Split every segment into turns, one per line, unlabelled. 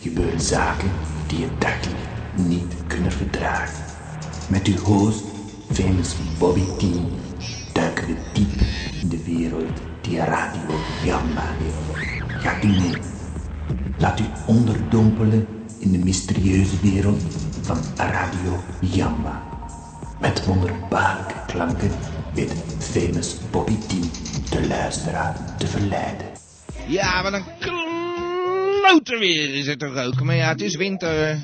gebeuren zaken die je dagelijks niet kunnen verdragen. Met uw host, famous Bobby T, duiken we diep in de wereld die Radio Jamba heeft. Gaat u mee? Laat u onderdompelen in de mysterieuze wereld van Radio Jamba. Met wonderbaarlijke klanken weet famous Bobby T de luisteraar te verleiden.
Ja, wat een klote weer is het toch ook. Maar ja, het is winter.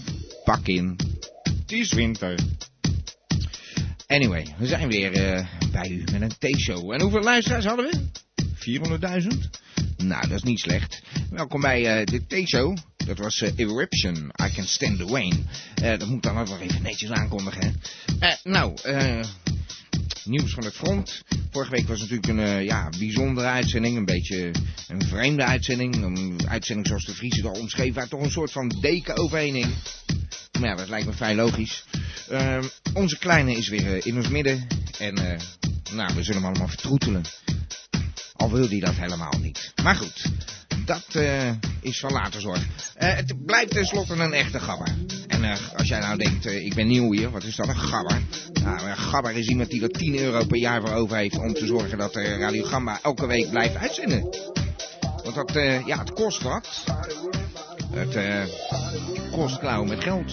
Pak in. Het is winter. Anyway, we zijn weer eh, bij u met een T-show. En hoeveel luisteraars hadden we? 400.000? Nou, dat is niet slecht. Welkom bij eh, de T-show. Dat was eh, Eruption, I Can Stand the Wayne. Eh, dat moet dan ook wel even netjes aankondigen. hè. Eh, nou, eh, nieuws van het front. Vorige week was natuurlijk een eh, ja, bijzondere uitzending. Een beetje een vreemde uitzending. Een uitzending zoals de Vriezen al omschreven. Waar toch een soort van deken overheen hing. Maar ja, dat lijkt me vrij logisch. Ehm, onze kleine is weer eh, in ons midden. En eh, nou, we zullen hem allemaal vertroetelen. Al wil hij dat helemaal niet. Maar goed, dat eh, is van later zorg. Eh, het blijft tenslotte een echte gabber. En eh, als jij nou denkt, eh, ik ben nieuw hier, wat is dat, een gabber? Nou, een gabber is iemand die er 10 euro per jaar voor over heeft... om te zorgen dat eh, Radio Gamba elke week blijft uitzenden. Want dat, eh, ja, het kost wat. Het eh, kost klauwen met geld.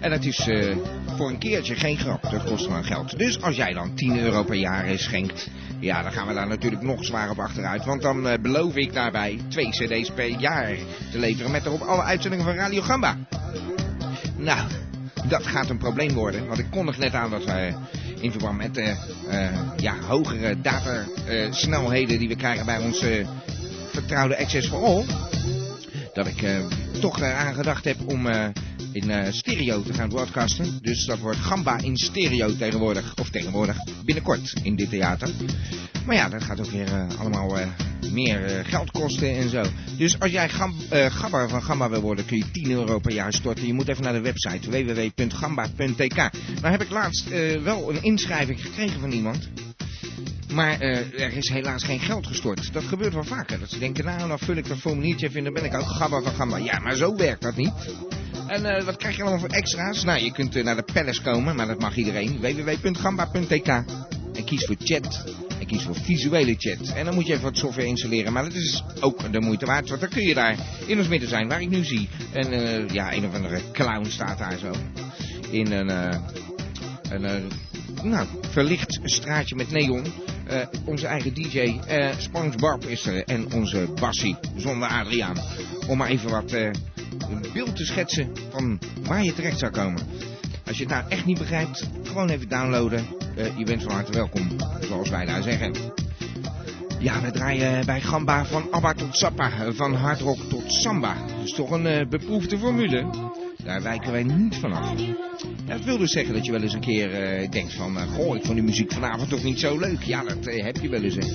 En dat is eh, voor een keertje geen grap. Dat kost gewoon geld. Dus als jij dan 10 euro per jaar eh, schenkt, ja, dan gaan we daar natuurlijk nog zwaar op achteruit. Want dan eh, beloof ik daarbij twee cd's per jaar te leveren met erop alle uitzendingen van Radio Gamba. Nou, dat gaat een probleem worden. Want ik kondig net aan dat wij in verband met eh eh, ja, hogere datasnelheden die we krijgen bij onze eh, vertrouwde Access for All dat ik eh, toch eh, aan gedacht heb om eh, in eh, stereo te gaan broadcasten. Dus dat wordt Gamba in stereo tegenwoordig, of tegenwoordig binnenkort in dit theater. Maar ja, dat gaat ook weer eh, allemaal eh, meer eh, geld kosten en zo. Dus als jij gam, eh, Gabber van Gamba wil worden, kun je 10 euro per jaar storten. Je moet even naar de website www.gamba.tk. Nou heb ik laatst eh, wel een inschrijving gekregen van iemand. Maar eh, er is helaas geen geld gestort. Dat gebeurt wel vaker. Dat ze denken, nou, dan vul ik dat formuliertje even in, dan ben ik ook gabba van gamba. Ja, maar zo werkt dat niet. En eh, wat krijg je allemaal voor extra's? Nou, je kunt eh, naar de palace komen, maar dat mag iedereen. www.gamba.tk En kies voor chat. En kies voor visuele chat. En dan moet je even wat software installeren. Maar dat is ook de moeite waard. Want dan kun je daar in ons midden zijn, waar ik nu zie. En eh, ja, een of andere clown staat daar zo. In een... eh, een eh, nou, verlicht straatje met neon. Eh, onze eigen DJ eh SpongeBob is er en onze Bassie zonder Adriaan. Om maar even wat eh, een beeld te schetsen van waar je terecht zou komen. Als je het nou echt niet begrijpt, gewoon even downloaden. Eh, je bent van harte welkom, zoals wij daar zeggen. Ja, we draaien bij Gamba van Abba tot Sappa, van hardrock tot samba. Dat is toch een eh, beproefde formule. Daar wijken wij niet van af. Dat wil dus zeggen dat je wel eens een keer eh, denkt van... eh, goh, ik vond die muziek vanavond toch niet zo leuk. Ja, dat eh, heb je wel eens. Hè.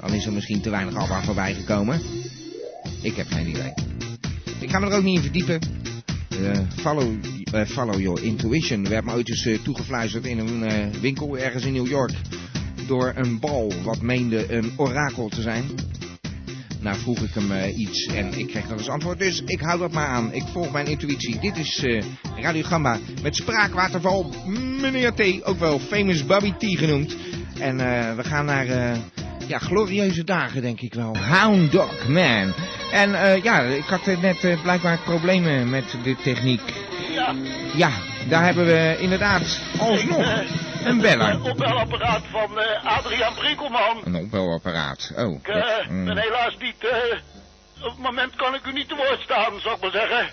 Dan is er misschien te weinig Abba voorbij gekomen. Ik heb geen idee. Ik ga me er ook niet in verdiepen. Eh, follow, eh, follow your intuition. We hebben me ooit eens eh, toegefluisterd in een eh, winkel ergens in New York. Door een bal wat meende een orakel te zijn. Nou vroeg ik hem eh, iets en ik kreeg dat als antwoord. Dus ik hou dat maar aan. Ik volg mijn intuïtie. Dit is eh Radio Gamba met spraakwaterval meneer T. Ook wel famous Bobby T genoemd. En eh, we gaan naar eh, ja, glorieuze dagen denk ik wel. Hound Dog Man. En eh, ja, ik had eh, net eh, blijkbaar problemen met de techniek.
Ja,
Ja, daar hebben we inderdaad alsnog een
een
beller.
opbelapparaat van eh, Adriaan Brinkelman.
Een opbelapparaat. Oh,
Ik eh,
dat, mm.
ben helaas niet... eh, op het moment kan ik u niet te woord staan, zou ik maar zeggen.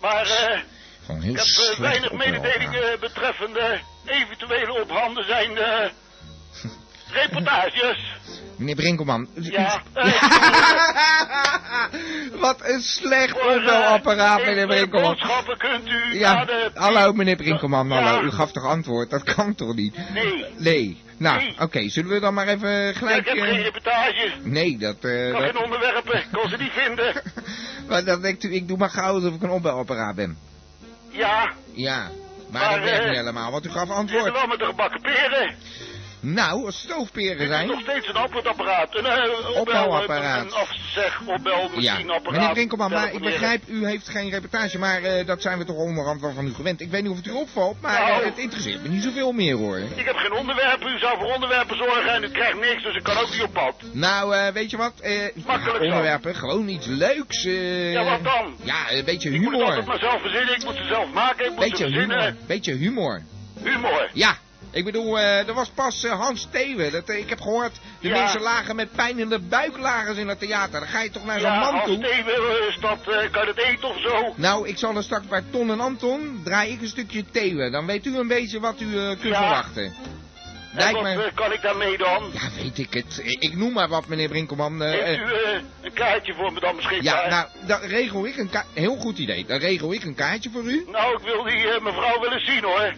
Maar eh,
Gewoon heel
ik heb eh,
slecht
weinig
opbelapparaat.
mededelingen betreffende eventuele ophanden zijn eh, reportages.
Meneer Brinkelman.
Ja, eh,
Wat een slecht
Voor, eh,
opbelapparaat, meneer
eventuele
Brinkelman.
Boodschappen kunt u
Ja,
naar de...
hallo meneer Brinkelman,
Ja.
hallo. U gaf toch antwoord? Dat kan toch niet?
Nee.
Nee. Nou,
Nee.
oké, zullen we dan maar even
ik
gelijk...
heb geen
eh,
reportage.
nee, dat... eh,
Ik kan
dat-
geen onderwerpen, ik kon ze niet vinden.
maar dat denkt u, ik doe maar gauw alsof ik een opbelapparaat ben.
Ja,
Ja, maar,
Maar,
dat werkt
eh,
niet helemaal, want u gaf
zitten
antwoord.
wel met de gebakken peren.
Nou, als stoofperen
Dit is nog
zijn.
steeds een antwoordapparaat. Een eh,
Opbelapparaat.
Een afzeg, opbel,
Ja,
misschien apparaat.
meneer Winkelman, maar ik
Telefoneren.
begrijp, u heeft geen reportage, maar eh, dat zijn we toch onderhand wel van u gewend. Ik weet niet of het u opvalt, maar
Nou.
eh, het interesseert me niet zoveel meer hoor.
Ik heb geen onderwerpen, u zou voor onderwerpen zorgen en u krijgt niks, dus ik kan ook niet op pad.
Nou, eh, weet je wat? Eh,
Makkelijk zo.
onderwerpen, gewoon iets leuks. eh.
Ja, wat dan?
Ja, een beetje
Ik moet het
humor.
altijd maar zelf verzinnen, ik moet ze zelf maken, ik moet
Beetje
ze
humor.
verzinnen.
Beetje humor.
Humor.
Ja, ik bedoel, eh, er was pas eh, Hans Thewe. Dat, eh, ik heb gehoord, de
Ja.
mensen lagen met pijn in de buik lagen ze in het theater. Dan ga je toch naar zo'n
Ja,
man
als
toe?
Steven is dat, eh, kan je dat eten of zo?
Nou, ik zal er straks bij Ton en Anton draai ik een stukje Thewe. Dan weet u een beetje wat u eh, kunt
Ja.
verwachten.
En
Lijkt
wat
me...
eh, kan ik daarmee dan?
Ja, weet ik het. Ik ik noem maar wat, meneer Brinkelman. Eh,
Heeft u
eh,
eh, een kaartje voor me dan beschikbaar?
ja, nou, dan regel ik een ka- Heel goed idee. Dan regel ik een kaartje voor u.
Nou, ik wil die eh, mevrouw wel eens zien hoor.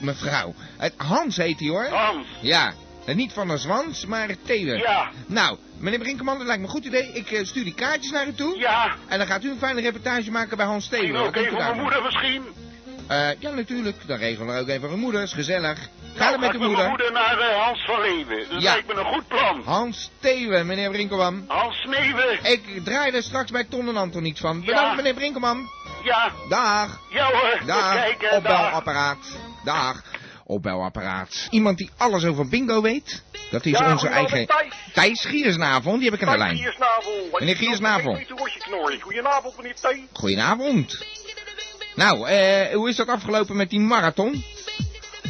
Mevrouw. Het Hans heet hij hoor.
Hans.
Ja. En niet van een zwans, maar Thewe.
Oh. Ja.
Nou, meneer Brinkelman, dat lijkt me een goed idee. Ik eh, stuur die kaartjes naar u toe.
Ja.
En dan gaat u een fijne reportage maken bij Hans Thewe.
Misschien
Wat
ook
denkt
even
u
voor mijn
daarvan?
moeder misschien.
Eh, ja, natuurlijk. Dan regelen we ook even een moeder. Is gezellig. Ga
Nou,
dan
ga
met
ik
de
mijn
moeder.
moeder naar eh, Hans van Leeuwen. Dat
Ja.
lijkt me een goed plan.
Hans Thewe, meneer Brinkelman.
Hans Sneeuwen.
Ik draai er straks bij Ton en Anton iets van.
Ja.
Bedankt, meneer Brinkelman.
Ja.
Dag.
Ja hoor.
Dag.
Tot kijken. dag.
Opbelapparaat. Dag. Opbelapparaat. Iemand die alles over bingo weet. Dat is
Ja,
onze
goedenavond,
eigen
Thijs.
Thijs Giersnavel. Die heb ik aan de
Meneer
lijn.
Giersnavel.
Meneer Giersnavel.
Ik weet hoe was je knorrie. Goedenavond, meneer T.
Goedenavond. Nou, eh, hoe is dat afgelopen met die marathon?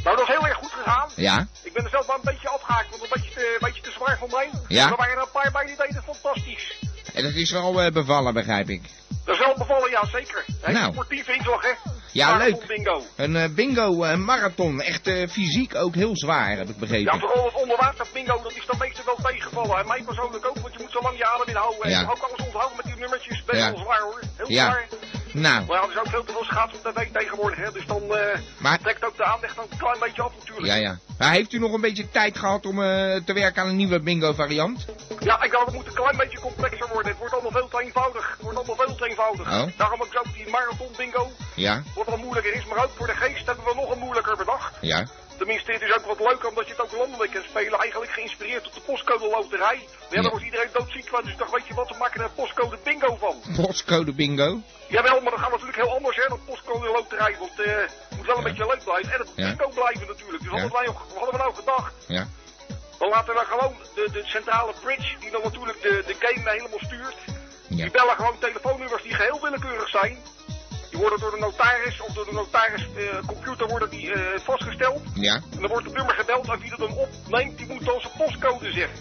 Nou, dat is heel erg goed gegaan.
Ja.
Ik ben er zelf maar een beetje afgehaakt, want een beetje te, een beetje te zwaar voor mij.
Ja.
Er waren er een paar bij die deden fantastisch.
En dat is wel eh, bevallen, begrijp ik.
Dat is wel bevallen, ja, zeker. Hè,
Nou.
Sportief inslag, hè.
Ja,
Marathon
leuk.
bingo.
Een eh, bingo eh, marathon. Echt eh, fysiek ook heel zwaar, heb ik
Ja,
begrepen.
vooral het onderwater bingo, dat is dan meestal wel tegengevallen. En mij persoonlijk ook, want je moet zo lang je adem inhouden. En
Ja.
ook alles onthouden met die nummertjes. Best
Ja.
wel zwaar, hoor. Heel
Ja.
zwaar.
Nou,
Maar ja, er is ook veel te veel schaats op tv tegenwoordig, hè. Dus dan eh
Maar-
trekt ook de aandacht ook een klein beetje af, natuurlijk.
ja, ja. Maar heeft u nog een beetje tijd gehad om eh, te werken aan een nieuwe bingo variant?
Ja, ik dacht, het moet een klein beetje complexer worden. Het wordt allemaal veel te eenvoudig. Het wordt allemaal veel te eenvoudig.
Oh.
Daarom ook zo die marathon bingo.
Ja,
Wordt wel moeilijker is, maar ook voor de geest hebben we nog een moeilijker bedacht.
ja.
Tenminste, het is ook wat leuker omdat je het ook landelijk kan spelen. Eigenlijk geïnspireerd op de postcode loterij. Maar ja,
Ja.
daar was iedereen doodziek van. Dus ik dacht, weet je wat, we maken er een postcode bingo van.
Postcode bingo.
Jawel, maar dat gaat natuurlijk heel anders hè, dan postcode loterij. Want eh, het moet wel een
Ja.
beetje leuk blijven. En het moet
Ja.
bingo blijven natuurlijk. Dus
Ja.
wat hadden, wij, nog- wat hadden we nou gedacht?
Ja.
Dan laten we gewoon de, de centrale bridge, die dan natuurlijk de, de game helemaal stuurt.
Ja.
Die bellen gewoon telefoonnummers die geheel willekeurig zijn. Die worden door de notaris of door de notariscomputer computer worden die, eh, vastgesteld.
Ja.
En dan wordt het nummer gebeld en wie dat dan opneemt, die moet dan zijn postcode zeggen.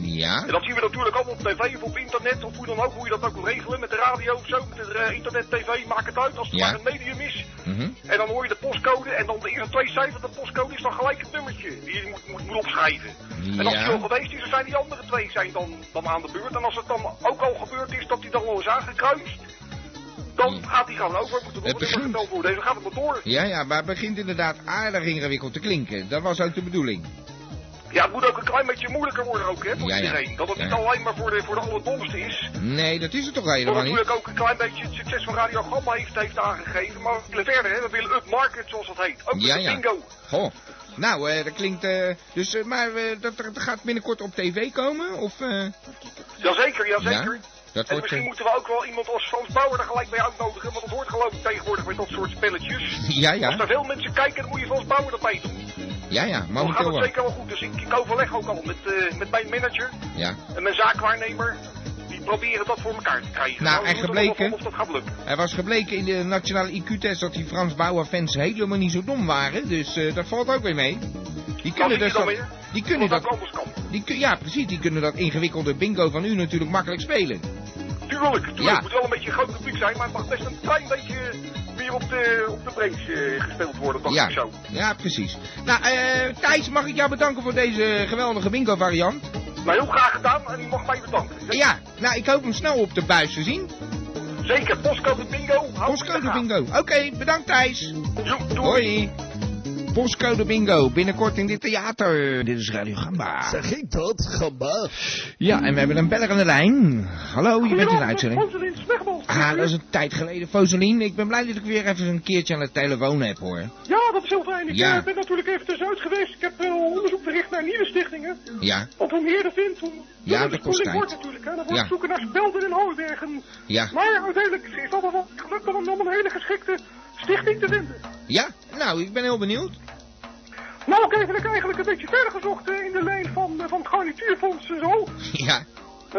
Ja.
En dat zien we natuurlijk allemaal op tv of op internet of hoe dan ook, hoe je dat ook moet regelen. Met de radio of zo, met de eh, internet, tv, maakt het uit als het
Ja.
maar een medium is.
Mhm.
En dan hoor je de postcode en dan de eerste twee cijfers van de postcode is dan gelijk het nummertje die je moet, moet, moet opschrijven. En als die
Ja.
al geweest is, dan zijn die andere twee zijn dan, dan aan de beurt. En als het dan ook al gebeurd is dat die dan al is aangekruist, dan
Ja.
gaat die gewoon over. Moet er nog
Het
een nummer
begint.
gebeld worden. En dan gaat het maar door.
Ja, ja, maar het begint inderdaad aardig ingewikkeld te klinken. Dat was ook de bedoeling.
Ja, het moet ook een klein beetje moeilijker worden ook, hè, voor
Ja, ja.
iedereen. Dat het
Ja.
niet alleen maar voor de, voor de allerdomste is.
Nee, dat is het toch
Wat
helemaal niet?
natuurlijk ook een klein beetje het succes van Radio Gamma heeft, heeft aangegeven. Maar we willen verder, hè. We willen upmarket, zoals dat heet. Ook met
Ja,
de
ja.
bingo.
Goh. Nou, eh, dat klinkt... eh, dus, eh, maar eh, dat, dat gaat binnenkort op tv komen? Of... eh,
Jazeker, jazeker.
Ja, dat
En
wordt...
misschien
eh,
moeten we ook wel iemand als Frans Bauer er gelijk bij uitnodigen, want dat hoort geloof ik tegenwoordig met dat soort spelletjes.
ja,
Als er
ja.
veel mensen kijken, dan moet je Frans Bauer erbij doen.
Ja, ja.
Dan gaat
Momenteel
het
wel.
zeker wel goed. Dus ik, ik overleg ook al met, eh, met mijn manager
Ja.
en mijn zaakwaarnemer. Die proberen dat voor elkaar te krijgen.
Nou,
we
en
moeten wel
gebleken-
Of dat gaat lukken.
Er was gebleken in de nationale IQ-test dat die Frans Bauer-fans helemaal niet zo dom waren. Dus eh, dat valt ook weer mee. Die
Nou,
kunnen
zie je
dus
dan
dat...
weer?
Die kunnen
dat ook
dat...
anders kan.
Die, kun- ja, precies. Die kunnen dat ingewikkelde bingo van u natuurlijk makkelijk spelen.
Tuurlijk, tuurlijk.
Ja.
Het moet wel een beetje een groot publiek zijn, maar het mag best een klein beetje meer op de, op de breaks eh, gespeeld worden, dacht ik
Ja,
zo.
ja, precies. Nou, eh, Thijs, mag ik jou bedanken voor deze geweldige winkelvariant?
Maar heel graag gedaan en u mag mij bedanken.
Ja, nou, ik hoop hem snel op de buis te zien.
Oh, Zeker, postcode bingo. hou het in de
Postcode
gaten.
bingo. Oké, bedankt Thijs.
Jo, doei.
Hoi. Postcode bingo, binnenkort in dit theater. Dit is Radio Gamba.
Zeg ik dat? Gamba.
Ja, en we hebben een beller aan de lijn. Hallo, Oh, je bent in de uitzending.
Fonselin Smegbels.
Ah, dat is een tijd geleden. Foseline, ik ben blij dat ik weer even een keertje aan de telefoon heb, hoor.
Ja, dat is heel fijn. Ik
Ja.
eh, ben natuurlijk even tussenuit geweest. Ik heb eh, onderzoek verricht naar nieuwe stichtingen.
Ja,
Want hoe meer er vindt, hoe
Ja,
minder
dat
de
kost
spoeling
tijd.
wordt natuurlijk. Hè. Dan wordt
Ja.
het zoeken naar Belden en Hooibergen.
ja,
Maar uiteindelijk is dat wel wat gelukt om om een hele geschikte stichting te vinden.
ja. Nou, ik ben heel benieuwd.
Nou, ik heb eigenlijk een beetje verder gezocht eh, in de lijn van, eh, van het garnituurfonds en zo.
Ja,
En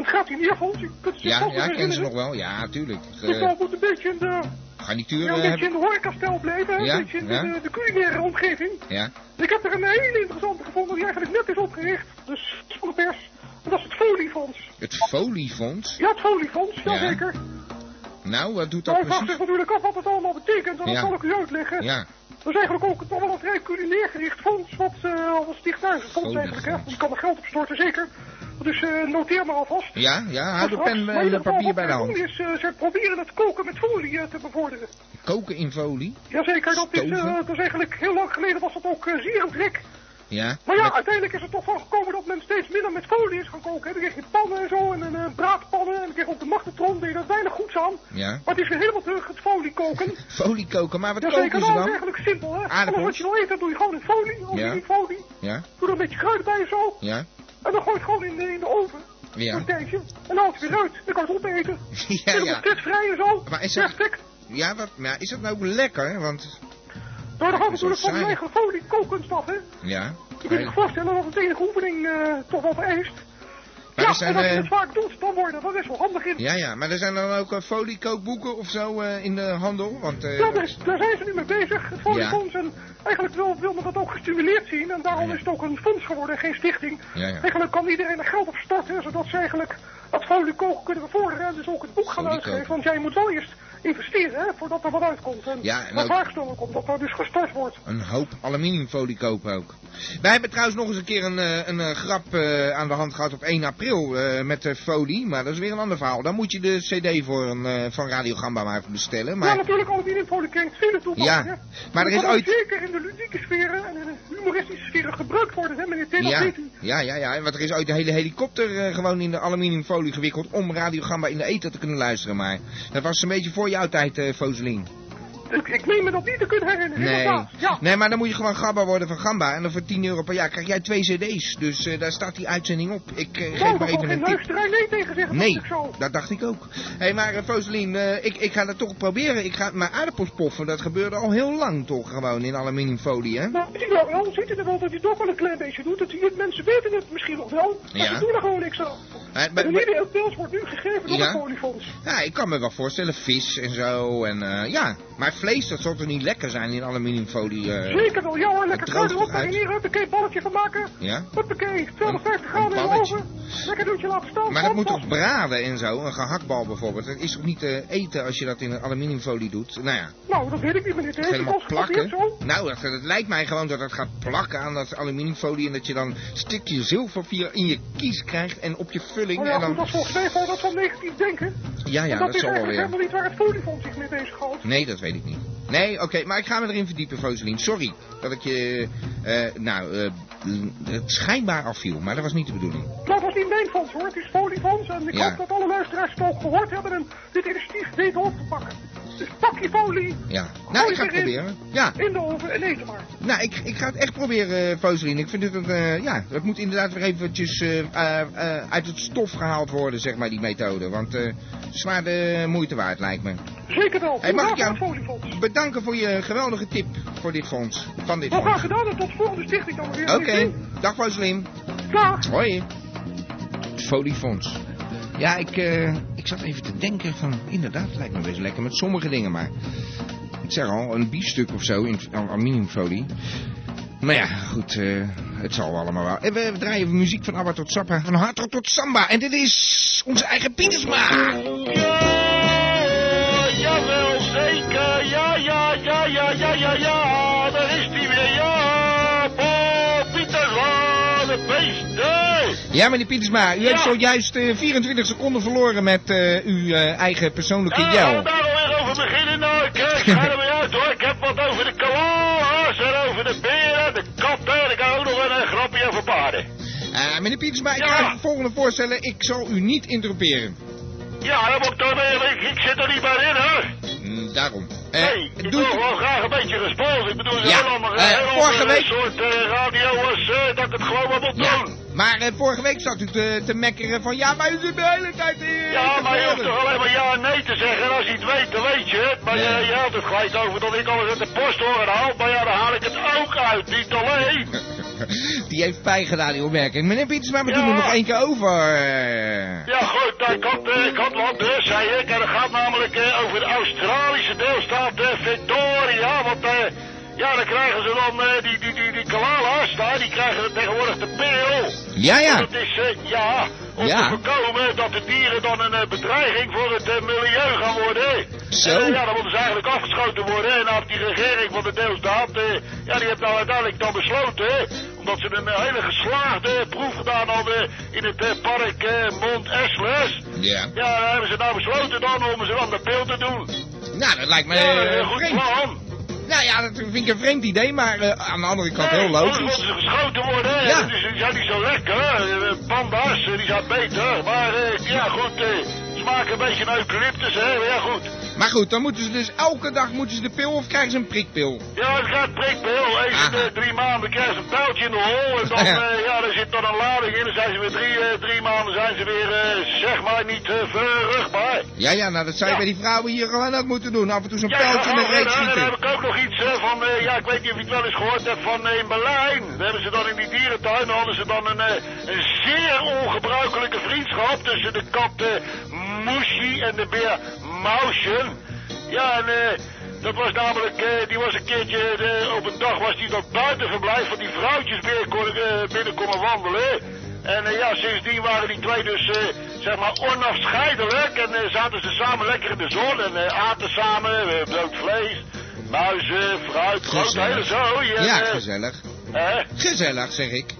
het gaat hier niet fonds. Je kunt het zich
ja,
vast
ja,
nog
ken ze nog
herinneren.
wel. Ja, tuurlijk.
Dus dat
Eh
moet een beetje in de, ja,
garnituur
een
eh, heb
beetje in de horecastijl blijven. hè.
Ja,
Een beetje in
ja.
de, de culinaire omgeving.
Ja,
Ik heb er een hele interessante gevonden die eigenlijk net is opgericht. Dus van de pers. En dat is het Foliefonds.
het foliefonds.
Ja, het Foliefonds,
Ja.
jazeker.
Nou, wat doet dat
Maar ik wacht zich
precies?
natuurlijk af wat het allemaal betekent. En dat
Ja.
zal ik u uitleggen.
Ja,
Dat is eigenlijk ook toch wel een vrij culinair gericht fonds. Wat eh al een
Oh,
stichthuizenfonds eigenlijk. Hè.
Foliefonds.
Die kan er geld op storten, zeker. Dus eh, noteer maar alvast.
ja, ja, hou
Als
de pen
maar in
en
ieder
het
geval
papier
wat
bij de
ze
hand.
doen Is, eh, ze proberen het koken met folie eh, te bevorderen.
Koken in folie.
Jazeker, dat is, eh,
Stoven.
dat is eigenlijk heel lang geleden was dat ook eh, zeer een trek.
Ja,
Maar ja,
met-
uiteindelijk is er toch van gekomen dat men steeds minder met folie is gaan koken. Dan kreeg je pannen en zo en, en eh, braadpannen en dan kreeg je op de magnetron deed dat weinig goeds aan.
ja.
Maar het is weer helemaal terug, het folie koken.
Folie koken, maar wat
Jazeker,
koken ze
nou, dat is
dan?
eigenlijk simpel hè.
Aardappels.
Alles wat je wil eten, doe je gewoon in folie. Of
Ja.
in folie.
Ja,
Doe er een beetje kruid bij en zo.
ja,
En dan gooi je het gewoon in de, in de oven. Voor
ja.
Een tijdje. En dan haal het weer uit. Dan kan je het opeten.
Ja,
en dan
ja.
wordt het vrij en zo.
Maar is dat-
Perfect.
Ja, wat, maar is dat nou ook lekker? Want,
Maar dan gaan we
Is wel
natuurlijk van
saai.
mijn eigen folie kokenstaf hè.
ja.
Je kunt je voorstellen dat het enige oefening eh, toch wel vereist.
Maar
ja,
er zijn,
en als je
eh,
het vaak doet, dan wordt dat wel best wel handig in.
Ja, ja, maar er zijn dan ook eh, foliekookboeken of zo eh, in de handel? Want, eh,
Ja,
dat
daar,
is-
daar zijn ze nu mee bezig, het Foliefonds. En eigenlijk wil, wil men dat ook gestimuleerd zien. En daarom
Ja.
is het ook een fonds geworden, geen stichting.
Ja, ja.
Eigenlijk kan iedereen er geld op storten, zodat ze eigenlijk dat foliekoken kunnen bevorderen. En dus ook het boek gaan
Foliekoken.
uitgeven. Want jij moet wel eerst investeren, hè, voordat er wat uitkomt. En
Ja, en
de
ook-
vraagstelling komt dat daar dus gestort wordt.
Een hoop aluminiumfolie kopen ook. Wij hebben trouwens nog eens een keer een, eh, een eh, grap eh, aan de hand gehad op 1 april eh, met de folie. Maar dat is weer een ander verhaal. Dan moet je de cd voor een, eh, van Radio Gamba maar even bestellen.
Ja,
Maar
natuurlijk, aluminiumfolie kent vele toepassingen.
Ja, maar er
Dat
is
kan ook
ooit-
zeker in de ludieke sferen en in de humoristische sferen gebruikt worden, hè, meneer Tim, dat
Ja,
weet u.
ja, ja, ja. En wat er is ooit een hele helikopter eh, gewoon in de aluminiumfolie gewikkeld om Radio Gamba in de eten te kunnen luisteren. Maar dat was een beetje voor jouw tijd, eh Foseling.
Ik, ik meen me dat niet te kunnen herinneren,
Nee.
inderdaad. Ja.
nee, maar dan moet je gewoon Gamba worden van Gamba. En dan voor 10 euro per jaar krijg jij twee cd's. Dus eh, daar staat die uitzending op. Ik eh,
Nou,
geef
daar
maar
zal
even
geen
een tip.
luisteraar nee tegen zeggen, dat
Nee,
is zo.
dat dacht ik ook. Hé, maar eh, Foseline, eh, ik, ik ga dat toch proberen. Ik ga mijn aardappels poffen. Dat gebeurde al heel lang toch gewoon in aluminiumfolie, hè?
Nou, zie je wel, Ron ziet het er wel dat hij toch wel een klein beetje doet. Dat hij, het- mensen weten het misschien nog wel, maar
Ja.
ze doen er gewoon niks aan.
Eh,
En
maar- maar-
iedere pils wordt nu gegeven door
Ja.
het oliefonds.
Ja, ik kan me wel voorstellen, vis en zo. En eh, ja, maar vlees, dat zal toch niet lekker zijn in aluminiumfolie? eh,
Zeker wel, ja hoor, lekker
Het droogt
kruiden op.
eruit.
En hier, huppakee, balletje van maken.
Ja?
Huppakee, 250
Een-
graden
een
in de
balletje.
oven. Lekker doetje laten staan.
Maar dat moet
vast.
toch braden en zo? Een gehaktbal bijvoorbeeld. Dat is toch niet te eten als je dat in een aluminiumfolie doet? Nou ja,
Nou, dat weet ik niet, meneer Tees.
helemaal plakken.
Zo.
Nou, dat, dat lijkt mij gewoon dat het gaat plakken aan dat aluminiumfolie. En dat je dan een stukje zilvervier in je kies krijgt en op je vulling.
Oh ja,
en
goed, dat
dan...
is volgens mij gewoon dat van negatief denken.
Ja, ja,
En
dat
is
zal wel
eigenlijk helemaal
weer.
niet waar het oliefonds zich mee bezighoudt.
Nee, dat weet ik niet. Nee, oké, maar ik ga me erin verdiepen, Foselien. Sorry dat ik je, eh, nou, eh, het schijnbaar afviel, maar dat was niet de bedoeling.
Nou, Dat was niet mijn fonds hoor, het is foliefonds. En ik
Ja.
hoop dat alle luisteraars het ook gehoord hebben en dit initiatief weten op te pakken. Dus pak je folie
Ja,
Gooi
nou, ik ga het
erin.
proberen. Ja,
in de oven en eet hem maar.
nou, ik, ik ga het echt proberen, eh, Foselien. Ik vind het, een, eh, ja, het moet inderdaad weer eventjes eh, eh, eh, uit het stof gehaald worden, zeg maar, die methode. Want eh, zwaar de moeite waard, lijkt me.
Zeker wel.
Hey, mag ik
Graag
jou-
aan het foliefonds.
Bedanken voor je geweldige tip voor dit fonds, van dit
Nou, graag
fonds.
gedaan en tot volgende stichting dan weer.
Oké, dag Foselien.
Dag.
Hoi. Foliefonds. Ja, ik, eh, ik zat even te denken van, inderdaad, lijkt me best lekker met sommige dingen, maar... Ik zeg al, een biefstuk of zo in al- aluminiumfolie. Maar ja, goed, eh, het zal allemaal wel. En we draaien muziek van Abba tot Sappa, van Hartrop tot Samba. En dit is onze eigen Pietersma.
Ja, jawel, zeker. Ja, ja, ja, ja, ja, ja, ja. Daar is hij weer. Ja, Paul Pieter van de beesten.
Ja, meneer Pietersma, u heeft
Ja.
zojuist eh, 24 seconden verloren met eh, uw eh, eigen persoonlijke
Ja, gaan we
jel.
daar eh, alweer over beginnen? Nou, kijk, ga er weer uit hoor. Ik heb wat over de koalas en over de beer eh,
Ah, Meneer Pietersma, ik
Ja.
ga het volgende voorstellen. Ik zal u niet interroperen.
Ja, dat moet ik dan eh, ik, ik zit er niet meer in, hoor.
Mm, Daarom. Eh,
Nee, ik
doet
wil
u-
wel graag een beetje gespoeld. Ik bedoel, ze
Ja,
hebben allemaal een
eh,
heel ander,
vorige week-
eh, soort eh, radio als eh, dat ik het gewoon maar moet
Ja,
doen.
maar eh, vorige week zat u te, te mekkeren van... Ja, maar u zit de hele tijd in.
Ja, maar je hoeft toch alleen maar ja en nee te zeggen. En als je het weet, dan weet je het. Maar
Nee.
eh, je had het kwijt over dat ik alles uit de post hoor haal. Maar ja, dan haal ik het ook uit, niet alleen.
Die heeft pijn gedaan, die opmerking. Meneer Pietersma, we doen
Ja.
er nog één keer over. eh.
Ja, goed, ik had, eh, ik had wat dus, zei ik. En dat gaat namelijk eh, over de Australische deelstaat eh, Victoria. Want eh, ja, dan krijgen ze dan eh, die, die, die, die koala's daar, die krijgen tegenwoordig de pil.
Ja, ja.
Dat is, eh, ja, om
Ja.
te voorkomen dat de dieren dan een eh, bedreiging voor het eh, milieu gaan worden.
Zo.
En, eh, ja, dan moeten ze eigenlijk afgeschoten worden. En nou heeft die regering van de deelstaat, eh, ja, die heeft nou uiteindelijk dan besloten, eh, omdat ze een eh, hele geslaagde proef gedaan hadden in het eh, park eh, Mont Esles.
Ja.
Ja, daar hebben ze nou besloten dan om ze dan de pil te doen.
Nou, dat lijkt me
ja, dat is
eh,
een goed
vreemd.
plan.
Nou ja, dat vind ik een vreemd idee, maar eh, aan de andere kant heel
Nee,
logisch.
anders moeten ze geschoten worden. hè.
Ja.
Die, zijn- die zijn niet zo lekker. hè. Eh, Panda's, eh, die zijn beter. Maar eh, ja, goed. eh, Ze maken een beetje een eucalyptus, hè. Maar Ja, goed.
Maar goed, dan moeten ze dus elke dag moeten ze de pil of krijgen ze een prikpil?
Ja, het gaat prikpil. Eens in
Aha.
de drie maanden krijgen ze een pijltje in de hol. En dan,
Ah. Ja.
eh, ja, daar zit dan een lading in. Dan zijn ze weer drie, eh, drie maanden zijn ze weer, eh, zeg maar, niet eh, verrugbaar.
Ja, ja, nou dat zou je
Ja.
bij die vrouwen hier gewoon ook moeten doen. Af en toe zo'n
Ja,
pijltje in de
ja, en
reet
dan heb
schieten.
ik ook nog iets eh, van, eh, ja, ik weet niet of je het wel eens gehoord hebt van eh, in Berlijn. Daar hebben ze dan in die dierentuin, dan hadden ze dan een, eh, een zeer ongebruikelijke vriendschap tussen de kat eh Mushi en de beer Mauschen. Ja, en eh, dat was namelijk, eh, die was een keertje, eh, op een dag was die dat buitenverblijf van die vrouwtjes binnen, kon, eh, binnen komen wandelen. En eh, ja, sindsdien waren die twee dus, eh, zeg maar, onafscheidelijk. En eh, zaten ze samen lekker in de zon en eh, aten samen eh, brood vlees, muizen, fruit, groot,
Gezellig.
hele zooi. En,
Ja,
eh,
gezellig.
hè?
Gezellig, zeg ik.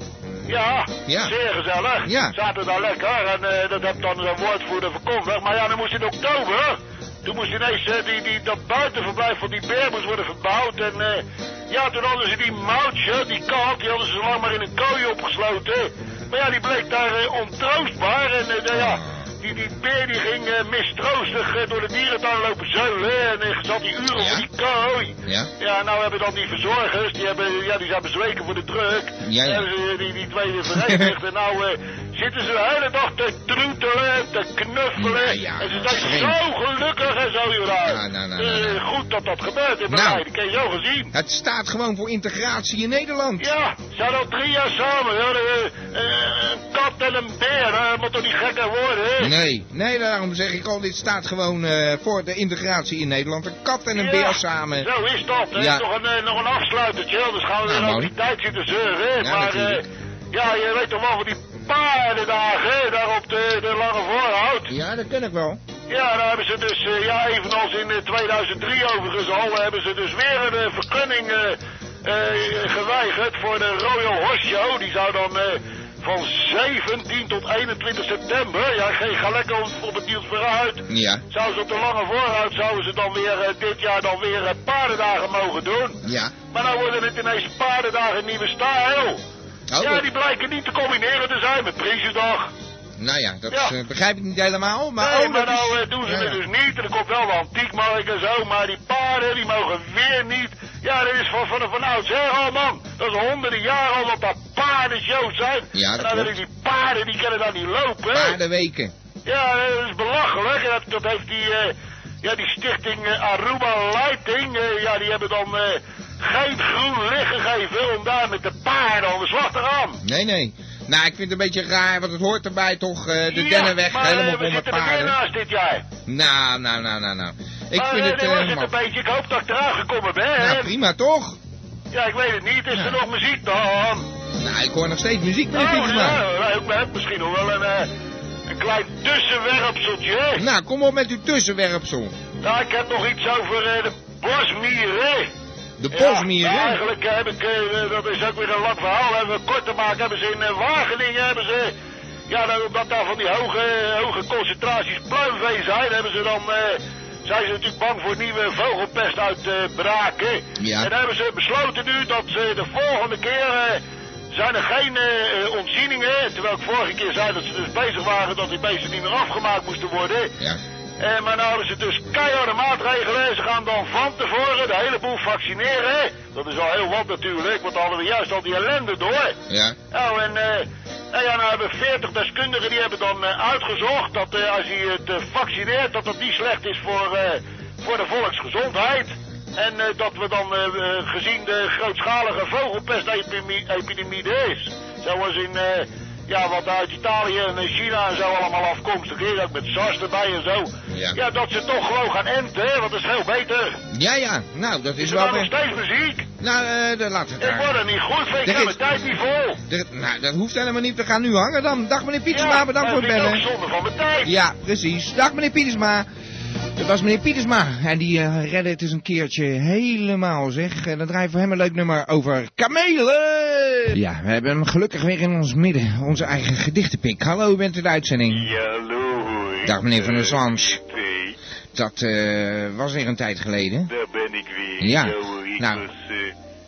ja,
Ja.
zeer gezellig.
Ja.
Zaten daar lekker en eh, dat heb dan een woordvoerder verkondigd. Maar ja, dan moest in oktober, toen moest ineens eh, die, die, dat buitenverblijf van die beer moest worden verbouwd. En eh, ja, toen hadden ze die moutje, die kat, die hadden ze zo lang maar in een kooi opgesloten. Maar ja, die bleek daar eh, ontroostbaar en eh, nou ja... Die, die beer die ging eh, mistroostig eh, door de dierentuin lopen zeulen en eh, zat die uren
Ja.
voor die kooi.
Ja.
Ja, nou hebben dan die verzorgers, die, hebben, ja, die zijn bezweken voor de druk.
Ja, ja.
En eh, die, die twee weer verenigd. en nou eh, zitten ze de hele dag te troetelen, te knuffelen.
Ja, ja,
en ze
dat is
zijn
vreemd.
zo gelukkig en zo hieraan.
Ja, nou, nou, nou,
Eh,
nou.
goed dat dat gebeurt in
Nou.
Berlijn, dat kan je zo gezien.
Het staat gewoon voor integratie in Nederland.
Ja, ze zijn al drie jaar samen. Hoor. Eh, eh, een kat en een beer, hè. dat moet toch niet gekker worden, hè?
Nee, nee, daarom zeg ik al, dit staat gewoon eh, voor de integratie in Nederland. Een kat en een
Ja,
beer samen.
Zo is dat. hè.
Ja.
Nog, een, eh, nog een afsluitertje, anders gaan we
Nou,
weer over
mooi.
die tijd zitten zeuren. hè.
Ja,
maar
natuurlijk.
eh, ja, je weet toch wel van die paardendagen hè, daar op de, de Lange Voorhout.
Ja, dat ken ik wel.
Ja, daar hebben ze dus, eh, ja, evenals in eh, 2003 overigens al, hebben ze dus weer een eh, vergunning eh, eh, geweigerd voor de Royal Horse Show. Die zou dan eh, van 17 tot 21 september, ja, ge- ga lekker op, op het nieuws vooruit.
Ja,
Zouden ze op de lange vooruit, zouden ze dan weer eh, dit jaar dan weer eh, paardendagen mogen doen.
ja.
Maar nou worden het ineens paardendagen nieuwe stijl.
Oh,
Ja, die blijken niet te combineren te zijn met Prinsjesdag.
nou ja, dat
Ja.
eh, begrijp ik niet helemaal, maar...
nee,
oh,
maar
dat is-
nou eh, doen ze
Ja,
het
ja.
dus niet. En er komt wel de antiekmarkt en zo, maar die paarden die mogen weer niet. Ja, dat is van, van, van oudsher al, man. Dat is honderden jaren al dat daar paardenshows zijn.
Ja, dat
en dan
klopt.
die paarden, die kunnen daar niet lopen. hè.
Paardenweken.
Ja, dat is belachelijk. En dat, dat heeft die, eh, ja, die stichting eh, Aruba Lighting. eh, ja, die hebben dan eh, geen groen licht gegeven om daar met de paarden aan de slag te gaan.
Nee, nee. Nou, ik vind het een beetje raar, want het hoort erbij toch, eh, de
Ja,
Dennenweg
maar, eh,
helemaal vol
we
met
zitten er weer
paarden.
naast dit jaar.
Nou, nou, nou, nou, nou. Ik
maar
vind
eh,
het
nee,
eh,
was het
helemaal...
een beetje. Ik hoop dat ik eruit gekomen ben. hè.
Nou, prima toch?
ja, ik weet het niet. Is
Ja.
er nog muziek dan?
Nou, ik hoor nog steeds muziek, meneer
Nou,
Pietersma.
ja, nou, ik heb misschien nog wel een, eh, een klein tussenwerpseltje.
Nou, kom op met uw tussenwerpsel.
Nou, ik heb nog iets over eh, de bosmieren.
De
Ja,
bosmier,
nou,
hè?
eigenlijk eh, heb ik, eh, dat is ook weer een lang verhaal, hebben we kort te maken, hebben ze in eh, Wageningen, hebben ze, ja, dan- omdat daar van die hoge, hoge concentraties pluimvee zijn, hebben ze dan, eh, zijn ze natuurlijk bang voor nieuwe vogelpest uit eh, Braken.
Ja.
En dan hebben ze besloten nu dat ze de volgende keer eh, zijn er geen eh, eh, ontzieningen. Terwijl ik vorige keer zei dat ze dus bezig waren dat die beesten niet meer afgemaakt moesten worden.
Ja.
Eh, maar nou is het dus keiharde maatregelen. Ze gaan dan van tevoren de hele boel vaccineren. Dat is al heel wat natuurlijk, want dan hadden we juist al die ellende door.
Ja.
Nou, en eh, nou ja, nou hebben 40 deskundigen die hebben dan eh, uitgezocht dat eh, als je het eh, vaccineert, dat dat niet slecht is voor, eh, voor de volksgezondheid. En eh, dat we dan, eh, eh, gezien de grootschalige vogelpestepidemie er is, zoals in, eh, ja, wat uit Italië en eh, China en zo allemaal afkomstig is, ook met SARS erbij en zo.
Ja.
ja, dat ze toch gewoon gaan enten, hè, want dat is veel beter.
Ja, ja. Nou, dat is
Is er
wel...
nou nog
weer-
steeds muziek?
Nou, eh, dan laten we het
Ik word
daar.
er niet goed van, ik
Er
heb
is-
mijn tijd niet vol.
Er- nou, dat hoeft helemaal niet. We gaan nu hangen dan. Dag meneer Pietersma, bedankt
dat
voor het
vind ik
bellen.
ook zonde van mijn tijd.
Ja, precies. Dag meneer Pietersma. Dat was meneer Pietersma. En die eh, redde het eens een keertje helemaal, zeg. En dan draaien we voor hem een leuk nummer over kamelen. Ja, we hebben hem gelukkig weer in ons midden. Onze eigen gedichtenpik. Hallo, u bent in de uitzending.
Hallo, hoi.
Dag meneer Van der Zwans.
Twee,
Dat eh, was weer een tijd geleden.
daar ben ik weer.
Ja,
hoor, ik
nou.
was eh,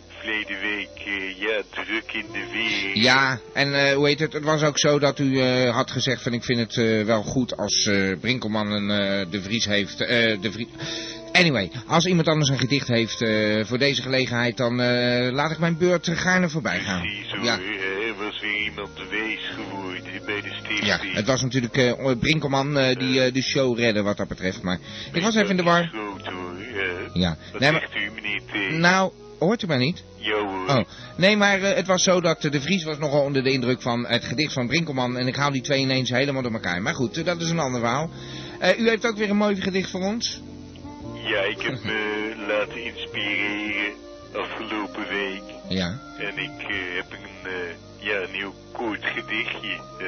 verleden week eh, ja, druk in de weer.
Ja, en eh, hoe heet het? Het was ook zo dat u eh, had gezegd van ik vind het eh, wel goed als eh, Brinkelman een, eh, de Vries heeft. eh, de Vries... Anyway, als iemand anders een gedicht heeft eh, voor deze gelegenheid, dan eh, laat ik mijn beurt eh, gaarne voorbij gaan.
Precies hoor,
Ja,
eh, er was weer iemand wees geworden bij de stichting.
ja, het was natuurlijk eh, Brinkelman eh, die eh, de show redde wat dat betreft, maar ik was even in de war.
Groot, hoor, eh.
Ja,
Wat
nee, maar,
zegt u meneer T?
nou, hoort u mij niet?
Ja hoor.
Oh, nee, maar eh, het was zo dat eh, de Vries was nogal onder de indruk van het gedicht van Brinkelman. En ik haal die twee ineens helemaal door elkaar. Maar goed, eh, dat is een ander verhaal. Eh, u heeft ook weer een mooi gedicht voor ons. Oh.
Ja, ik heb me laten inspireren afgelopen week.
Ja.
En ik eh, heb een, eh, ja, een heel kort gedichtje. eh,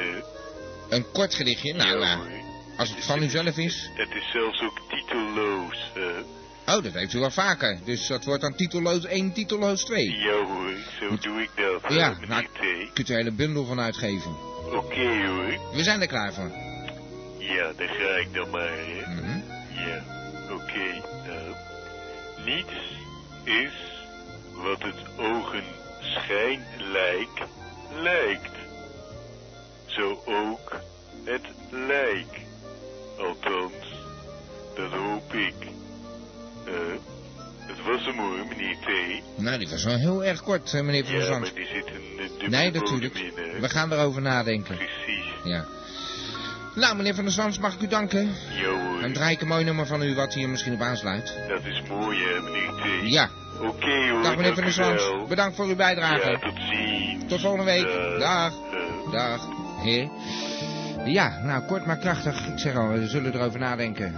Een kort gedichtje? Nou,
ja,
nou,
hoor.
als het van u zelf is.
Het is zelfs ook titelloos. eh.
Oh, dat heeft u wel vaker. Dus dat wordt dan titelloos 1, titelloos 2.
ja hoor, zo doe ik dat. eh,
Ja,
meneer
nou,
T.
kunt u een hele bundel van uitgeven.
Oké hoor.
We zijn er klaar voor.
Ja, daar ga ik dan maar. hè.
Mhm.
Ja, oké. nou. niets is wat het ogen schijn lijkt, lijkt. Zo ook het lijk. Althans, dat hoop ik. Eh, het was hem hoor, meneer T.
Nou, die was wel heel erg kort, eh, meneer Van der
Ja,
Zandt.
maar die zit een eh, dubbele
Nee,
bodem
natuurlijk.
in, hè.
We gaan erover nadenken.
Precies.
Ja. Nou, meneer Van der Zandt, mag ik u danken?
Ja hoor,
Dan draai ik een mooi nummer van u wat hier misschien op aansluit.
dat is mooi hè, meneer T.
Ja,
Oké hoor,
dag
dank
meneer Van
u
der Zwans.
wel.
Bedankt voor uw
Ja,
bijdrage.
tot ziens.
Tot volgende week. Dag.
eh.
Dag, heer. Ja, nou, kort maar krachtig. Ik zeg al, we zullen erover nadenken.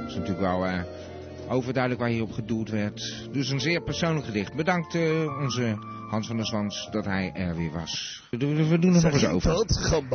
Dat is natuurlijk wel eh, overduidelijk waar hierop gedoeld werd. Dus een zeer persoonlijk gedicht. Bedankt eh, onze Hans van der Zwans dat hij er weer was. We doen we doen er nog eens over. In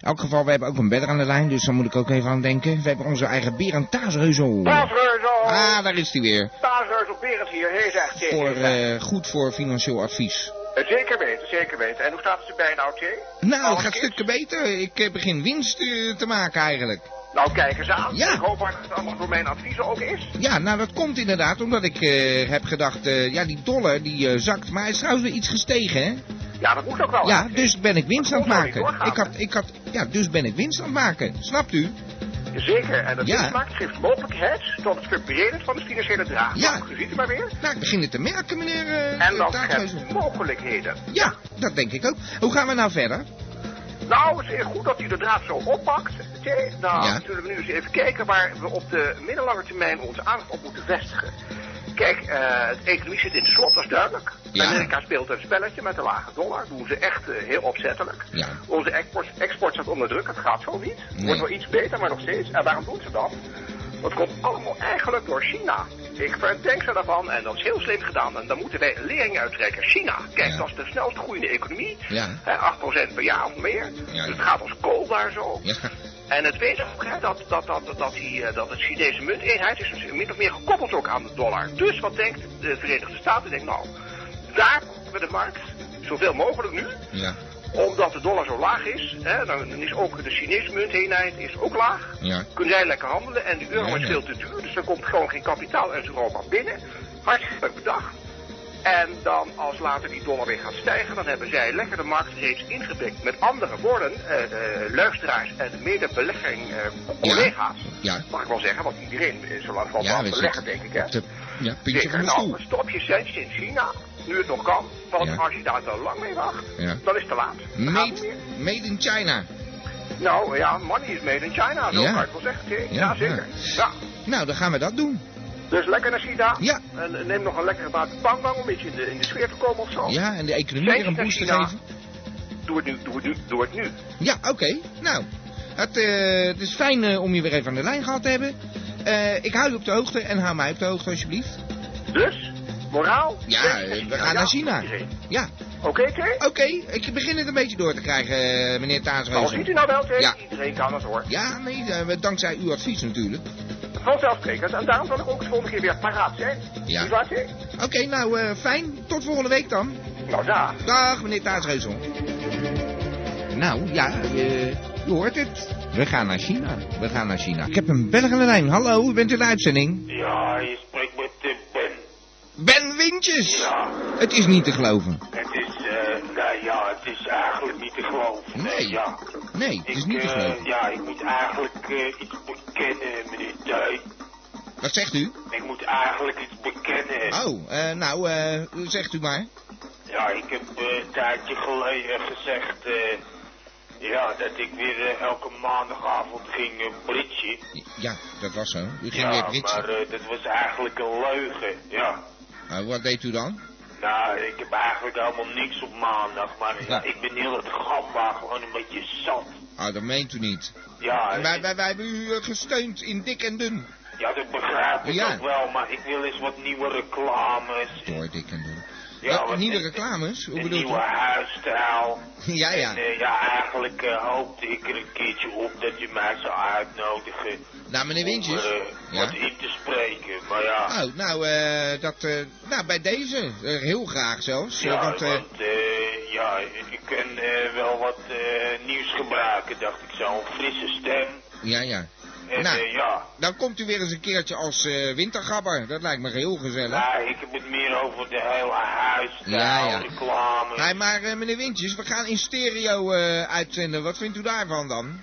elk geval, we hebben ook een bedder aan de lijn, dus daar moet ik ook even aan denken. We hebben onze eigen bier aan taasheuzel.
Taverheuzel!
Ah, daar is hij weer.
Taverheuzel Berend hier, heel erg tegen.
Voor, eh, goed voor financieel advies.
Eh, Zeker weten, zeker weten. En hoe gaat het erbij nou, Thee?
Nou, het
Alles
gaat
is?
stukken beter. Ik eh, begin winst eh, te maken eigenlijk.
Nou, kijk eens aan.
Ja.
Ik hoop hard dat het allemaal door mijn adviezen ook is.
Ja, nou dat komt inderdaad omdat ik eh, heb gedacht, eh, ja die dollar die eh, zakt, maar hij is trouwens weer iets gestegen hè.
Oh,
Ja, dat moet ook wel.
Ja, dus ben ik winst aan het
Dat kon
maken.
gewoon niet doorgaan,
Ik had, ik had, ja, dus ben ik winst aan het maken. Snapt u?
Zeker, en dat
Ja.
ja. maakt geeft mogelijkheid tot het verbreden van de financiële draag.
Ja.
U ziet het maar weer.
Nou, ik begin het te merken meneer eh,
En dat
Taakhuizen.
geeft mogelijkheden.
Ja, dat denk ik ook. Hoe gaan we nou verder?
Nou, het is goed dat u de draad zo oppakt. Tjee, nou,
Ja.
zullen we nu eens even kijken waar we op de middellange termijn onze aandacht op moeten vestigen. Kijk, eh het economie zit in de slot, dat is duidelijk.
Ja.
Amerika speelt een spelletje met een lage dollar. Doen ze echt eh, heel opzettelijk.
Ja.
Onze export, export staat onder druk, het gaat zo niet. Het
Nee.
Wordt wel iets beter, maar nog steeds. En waarom doen ze dat? Dat komt allemaal eigenlijk door China. Ik verdenk ze daarvan en dat is heel slim gedaan. En daar moeten wij lering uittrekken. China, kijk,
Ja.
dat is de snelst groeiende economie.
Ja.
Hè, 8% per jaar of meer.
Ja.
Dus het gaat als kool daar zo.
Ja.
En het weet ook hè, dat, dat, dat, dat, die, eh, dat het Chinese munteenheid is dus min of meer gekoppeld ook aan de dollar. Dus wat denkt de Verenigde Staten? Denkt nou, daar pakken we de markt zoveel mogelijk nu.
Ja,
Omdat de dollar zo laag is, hè, dan is ook de Chinese munteenheid is ook laag.
ja.
Kunnen zij lekker handelen en de euro
Ja,
is
ja.
veel te duur, dus er komt gewoon geen kapitaal uit Europa binnen. Hartstikke bedacht.
En dan als later die dollar weer gaat stijgen, dan hebben zij lekker de markt reeds ingepikt. Met andere woorden, eh, eh, luisteraars en medebelegging eh, collega's,
Ja.
mag ik wel zeggen, want iedereen eh, is zo lang van
Ja,
ja,
we
beleggen,
zitten
denk ik. Hè?
op de ja, puntje van
Zeker,
de
nou,
stoel.
een stopje centjes in China, nu het nog kan. Want
Ja.
als je daar te lang mee wacht,
Ja.
dan is het te laat. Dan gaat het niet
Made,
meer.
made in China.
Nou ja, money is made in China, zo
Ja.
kan ik wel zeggen. Ja,
Ja,
zeker.
ja.
Ja.
Nou, dan gaan we dat doen.
Dus lekker naar China.
Ja.
En eh, neem nog een lekkere maat pangbang om een beetje in de, in de sfeer te komen of zo.
Ja, en de economie weer een boost te
Oh. China.
geven.
Doe het nu, doe het nu, doe het nu.
Ja, oké. Nou, het, eh, het is fijn eh, om je weer even aan de lijn gehad te hebben. Eh, ik hou je op de hoogte en hou mij op de hoogte alsjeblieft.
Dus, moraal.
Ja,
steeds naar
eh, we
China.
gaan naar China. Oh,
iedereen.
Ja,
Oké, Kees?
oké. Ik begin het een beetje door te krijgen, eh, meneer
Nou, ziet u
Taasreuzen.
nou wel, Kees?
Ja.
Iedereen kan het hoor.
Ja, nee, eh, dankzij uw advies natuurlijk.
Vanzelfsprekend. En daarom zal ik ook de volgende keer weer paraat zijn.
Ja.
Niet waar, Kees?
Oké, nou eh, fijn. Tot volgende week dan.
Nou, daar.
Dag, meneer Taasreuzel. Nou, ja, eh, je hoort het. We gaan naar China. We gaan naar China. Ik heb een Belg aan de lijn. Hallo, u bent in de uitzending.
Ja, je spreekt met eh, Ben.
Ben Wintjes!
Ja,
Het is niet te geloven.
het is, eh, nou ja, het is eigenlijk niet te geloven.
Nee.
Ja.
Nee, het is
Ik,
niet te
eh,
geloven.
ja, ik moet eigenlijk eh, iets bekennen, meneer Duy.
Wat zegt u?
Ik moet eigenlijk iets bekennen.
Oh, eh, nou, eh, zegt u maar.
Ja, ik heb eh, een tijdje geleden gezegd, eh, ja, dat ik weer eh, elke maandagavond ging eh, britsen.
Ja, dat was zo. U ging weer
Ja,
britsen.
maar eh, dat was eigenlijk een leugen, ja.
Eh, wat deed u dan?
Nou, ik heb eigenlijk helemaal niks op maandag, maar
Ja.
ja, ik ben heel het gamba gewoon een beetje zat.
Ah, dat meent u niet.
Ja,
En Wij, wij, wij hebben u eh, gesteund in dik en dun.
ja dat begrijp ik
Ja.
ook wel, maar ik wil eens wat nieuwe reclames.
Door dik en dun.
Ja,
Ja,
wat-
nieuwe reclames? Hoe
een
bedoelt
nieuwe
u?
huisstijl.
Ja, ja.
En, eh, ja, eigenlijk eh, hoopte ik er een keertje op dat je mij zou uitnodigen.
Nou, meneer Wintjes.
Om, eh,
Ja.
wat in te spreken, maar ja.
Oh, nou, eh, dat, eh, nou, bij deze. Eh, heel graag zelfs. Eh,
Ja,
want, eh,
eh, ja, ik kan eh, wel wat eh, nieuws gebruiken, dacht ik zo. Een frisse stem.
ja, ja.
En
Nou.
eh, ja,
Dan komt u weer eens een keertje als eh wintergabber. Dat lijkt me heel gezellig.
nou, ik heb het meer over de hele huisstijl,
Ja, ja.
reclame.
Hey, maar eh, meneer Wintjes, we gaan in stereo eh, uitzenden. Wat vindt u daarvan dan?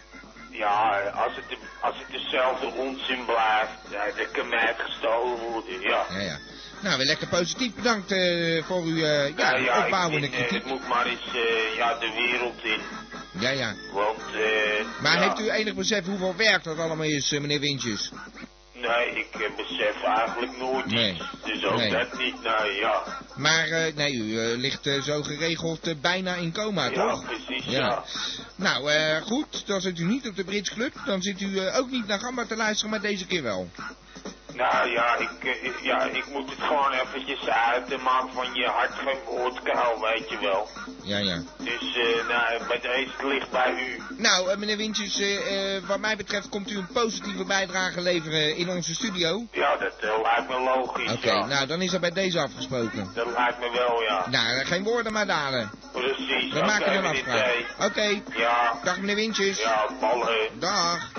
Ja, als het, als het dezelfde onzin blijft, ja, dan kan mij gestolen worden, ja.
Ja, ja. Nou, weer lekker positief. Bedankt eh, voor uw eh, ja,
Nou ja,
opbouwende
ik vind, eh,
kritiek.
het moet maar eens eh, ja, de wereld in.
Ja, ja.
Want, eh.
Maar
ja,
heeft u enig besef hoeveel werk dat allemaal is, eh, meneer Wintjes?
Nee, ik eh, besef eigenlijk nooit
Nee.
iets. Dus ook
Nee.
dat niet, nou ja.
Maar eh, nee, u eh, ligt eh, zo geregeld eh, bijna in coma,
Ja,
toch?
precies, ja.
Nou, eh, goed. Dan zit u niet op de Brits Club. Dan zit u eh, ook niet naar Gamba te luisteren, maar deze keer wel.
Nou ja ik, eh, ik- ja, ik moet het gewoon eventjes uit de maak van je hart geen woord kaal, weet je wel.
Ja, ja.
Dus, eh, nou, bij deze het ligt bij u.
Nou, eh, meneer Wintjes, eh, eh, wat mij betreft komt u een positieve bijdrage leveren eh, in onze studio.
Ja, dat eh, lijkt me logisch,
Oké,
ja.
nou dan is dat bij deze afgesproken.
Dat lijkt me wel, ja.
Nou, eh, geen woorden maar daden.
Precies.
We maken er een
meneer
afspraak.
T.
Oké,
Ja,
dag meneer Wintjes.
ja, ballen.
Dag.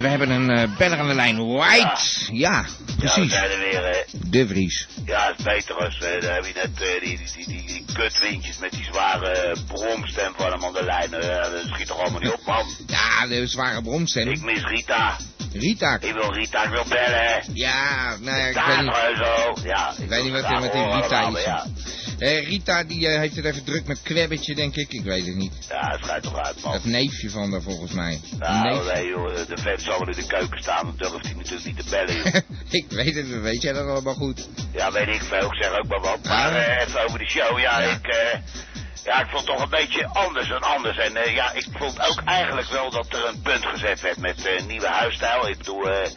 we hebben een eh, beller aan de lijn. White. Ja, precies.
Ja, we zijn er weer. hè.
De Vries.
Ja, het is beter als eh, daar heb je net eh, die, die, die, die, die kutwindjes met die zware eh, bromstem van hem aan de lijn. Eh, dat schiet toch allemaal niet op, man.
Ja, de zware bromstem.
Ik mis Rita.
Rita.
Ik wil Rita, ik wil bellen.
Ja, nou ja, ik weet niet.
Daar zo. Ja,
Ik weet niet wat er
wil
met die
graag horen
Rita
allemaal,
is.
Ja,
Eh, Rita die eh, heeft het even druk met kwebbetje, denk ik. Ik weet het niet.
ja het schijnt toch uit,
Oh.
man.
Dat neefje van daar volgens mij.
Nou,
Neef.
nee, joh, de vet zal wel in de keuken staan, dan durft hij natuurlijk niet te bellen. joh.
ik weet het, weet jij dat allemaal goed?
Ja, weet ik veel, ik zeg ook maar wat. Maar
Ah.
eh, even over de show, ja,
Ja.
ik... eh, ja, ik vond het toch een beetje anders dan anders. En eh, ja, ik vond ook eigenlijk wel dat er een punt gezet werd met eh, nieuwe huisstijl. Ik bedoel, eh,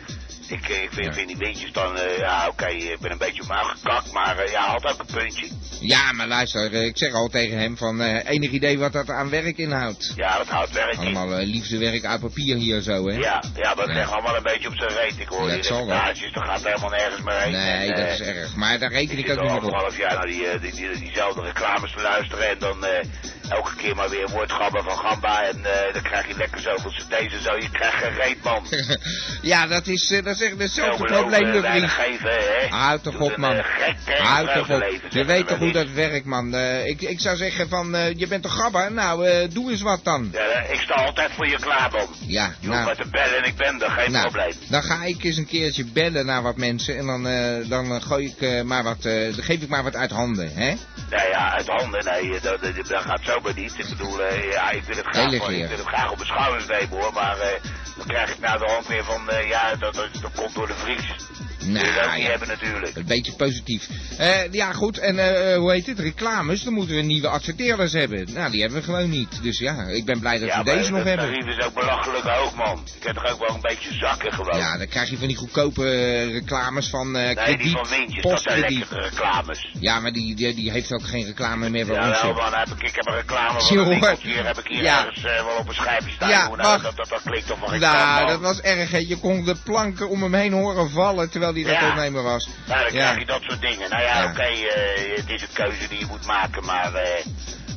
ik, eh, ik vind,
Ja.
vind die windjes dan... eh, ja, oké, ik ben een beetje op me aangekakt, maar eh, ja, had ook een puntje.
Ja, maar luister, eh, ik zeg al tegen hem van eh, enig idee wat dat aan werk inhoudt.
Ja, dat houdt werk in.
Allemaal eh, liefdewerk uit papier hier zo, hè?
Ja, ja, dat
Ja.
ligt allemaal een beetje op zijn reet. Ik hoor
Ja,
die
het zal wel.
reportages, dat gaat helemaal nergens meer heen.
Nee,
En,
dat
eh,
is erg. Maar daar reken ik
zit
ook
al
niet op.
anderhalf jaar
nou,
naar die, eh, die, die- diezelfde reclames te luisteren en dan eh, elke keer maar weer woordgabber van gamba en eh, dan krijg je lekker zoveel cd's en zo. Je krijgt geen reet, man.
ja, dat is, eh, dat is zeggen, hetzelfde
Zo
probleem, de
beloven, eh, weinig
vriend.
geven, hè?
Houd toch
Doet
op,
een,
man.
eh, gek tegen
Houd toch op.
buitenleven,
Je
zeg
weet
maar
toch hoe
niet.
dat werkt, man. Eh, ik, ik zou zeggen van, eh, je bent een gabber. Nou, eh, doe eens wat dan.
Ja, ik sta altijd voor je klaar, man.
Ja,
Je hoeft
nou.
maar te bellen en ik ben er, geen
Nou,
probleem.
dan ga ik eens een keertje bellen naar wat mensen en dan, eh, dan eh, gooi ik, eh, maar wat, eh, dan geef ik maar wat uit handen, hè?
Nou ja, uit handen, nee, eh, dat, dat, dat gaat zomaar niet. Ik bedoel, eh, ja, ik wil het graag,
Heel
hoor.
leuk,
ik
ja.
wil het graag op mijn schouders nemen, hoor. Maar eh, dan krijg ik nou de hand weer van, eh, ja, dat, dat, dat komt door de Vries.
Nou,
Nou, dat ook niet
ja.
hebben natuurlijk.
Een beetje positief. Eh, ja, goed, en eh, hoe heet het? Reclames, dan moeten we nieuwe adverteerders hebben. Nou, die hebben we gewoon niet. Dus ja, ik ben blij dat
ja,
we
maar
deze nog
dat
hebben.
tarief is ook belachelijk hoog, man. Ik heb toch ook wel een beetje zakken gewoon.
Ja, dan krijg je van die goedkope eh, reclames van eh
nee, die
krediet,
van Windjes, dat zijn
postkrediet.
lekkere reclames.
Ja, maar die, die, die heeft ook geen reclame meer voor ons.
Ja,
joh.
man, heb ik, ik heb een reclame
Zie je,
van een
hoor.
winkeltje. Hier heb ik hier
Ja.
ergens eh, wel op een schijfje staan.
Ja,
Hoe nou,
mag.
dat, dat, dat klinkt toch wel
Nou,
reclame,
dat
man.
was erg, hè. Je kon de planken om hem heen horen vallen terwijl hij dat
Ja.
opnemen was.
Nou, dan
Ja.
krijg je dat soort dingen. Nou ja,
Ja.
oké, eh, het is een keuze die je moet maken, maar eh,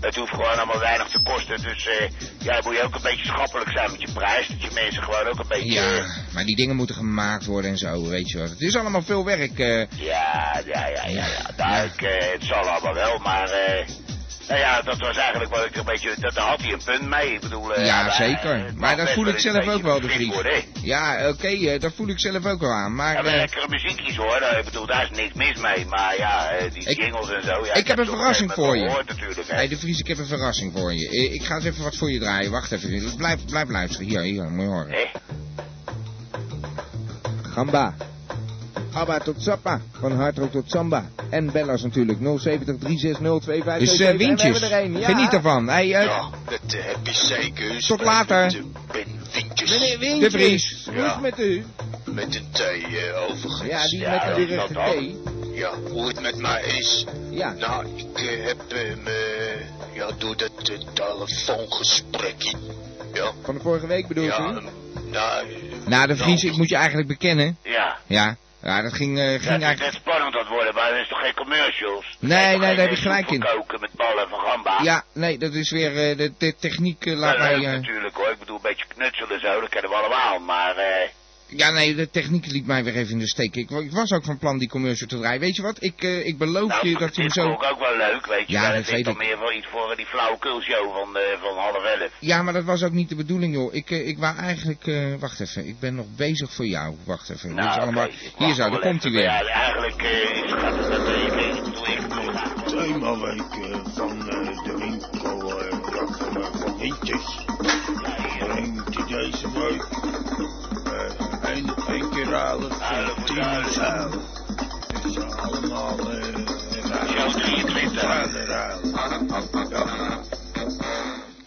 het hoeft gewoon allemaal weinig te kosten. Dus eh, ja, moet je ook een beetje schappelijk zijn met je prijs, dat je mensen gewoon ook een beetje...
Ja, maar die dingen moeten gemaakt worden en zo, weet je wel. Het is allemaal veel werk. eh.
Ja, ja, ja, ja, ja. Nou,
Ja.
ik, eh, het zal allemaal wel, maar... eh, nou ja, dat was eigenlijk wel een beetje... Dat, daar had hij een punt mee, ik bedoel... eh,
ja,
maar, eh,
zeker.
het
Maar
mag
dat
best
voel ik
eens
zelf
een
ook
beetje
wel, de
beschikt
vriend.
worden, hè.
Ja, oké, eh, dat voel ik zelf ook wel aan.
Ja,
Maar
maar
eh,
lekkere muziekjes hoor, Eh, ik bedoel, daar is niks mis mee. Maar ja, eh, die
Ik-
jingles en zo. Ja,
ik heb een
ze op
verrassing
gegeven moment
voor
wel gehoord natuurlijk, hè.
hey, de Vries, ik heb een verrassing voor je. Eh, Ik ga eens even wat voor je draaien. Wacht even. Blijf, blijf luisteren. Hier, hier, moet je horen.
Hé?
Gamba. Abba tot Zappa. Van hardrock tot samba. En Bella's natuurlijk. 070 360
Dus, eh, Windjes,
Geniet ervan. Hey, eh,
Ja, dat heb je zeker.
Tot later.
Ben Windjes.
de Vries.
hoe is het
met u?
Met de T eh, overigens.
Ja, die
Ja,
met de
dat
directe
ook.
thee.
Ja, hoe het met mij is.
Ja.
Nou, ik eh, heb hem eh, ja, door dat eh, telefoongesprekje. Ja,
Van de vorige week bedoel
ja,
je?
ehm, nou, eh,
Nou, de Vries,
nou,
ik moet je eigenlijk bekennen.
Ja.
Ja. Ja, dat ging, eh, ging
Dat is
eigenlijk...
net spannend dat worden, maar dat is toch geen commercials?
Nee, nee, daar heb je gelijk in.
koken met ballen van gamba.
Ja, nee, dat is weer eh, de, de techniek eh, laat
dat
mij...
leuk
eh,
natuurlijk hoor. Ik bedoel, een beetje knutselen en zo, dat kennen we allemaal. Maar eh,
ja, nee, de techniek liet mij weer even in de steek. Ik, wa- ik was ook van plan die commercial te draaien. Weet je wat? Ik, eh, ik beloof
nou,
je dat je hem
dit
zo...
vond ik ook wel leuk, weet je.
Ja,
maar
dat
dat is
weet
dan
ik.
meer wel iets voor eh, die flauwekulshow van, eh, van half elf.
Ja, maar dat was ook niet de bedoeling, joh. Ik, eh, ik wou eigenlijk... eh, wacht even, ik ben nog bezig voor jou. Wacht even. dit is
Nou, oké,
allemaal...
ik wacht
Hier zo, daar
nog wel
komt hij
even.
weer.
Ja, eigenlijk eh, is gaat het dat eh, ik bedoel, ik bedoel, ja,
Themaweek eh, van eh, de winkel eh, Brakkemer van Hintjes brengt u deze week eh, een, een keer eh, alles voor Tienerzuil. Het zijn allemaal eh,
Show 23.
ruilen.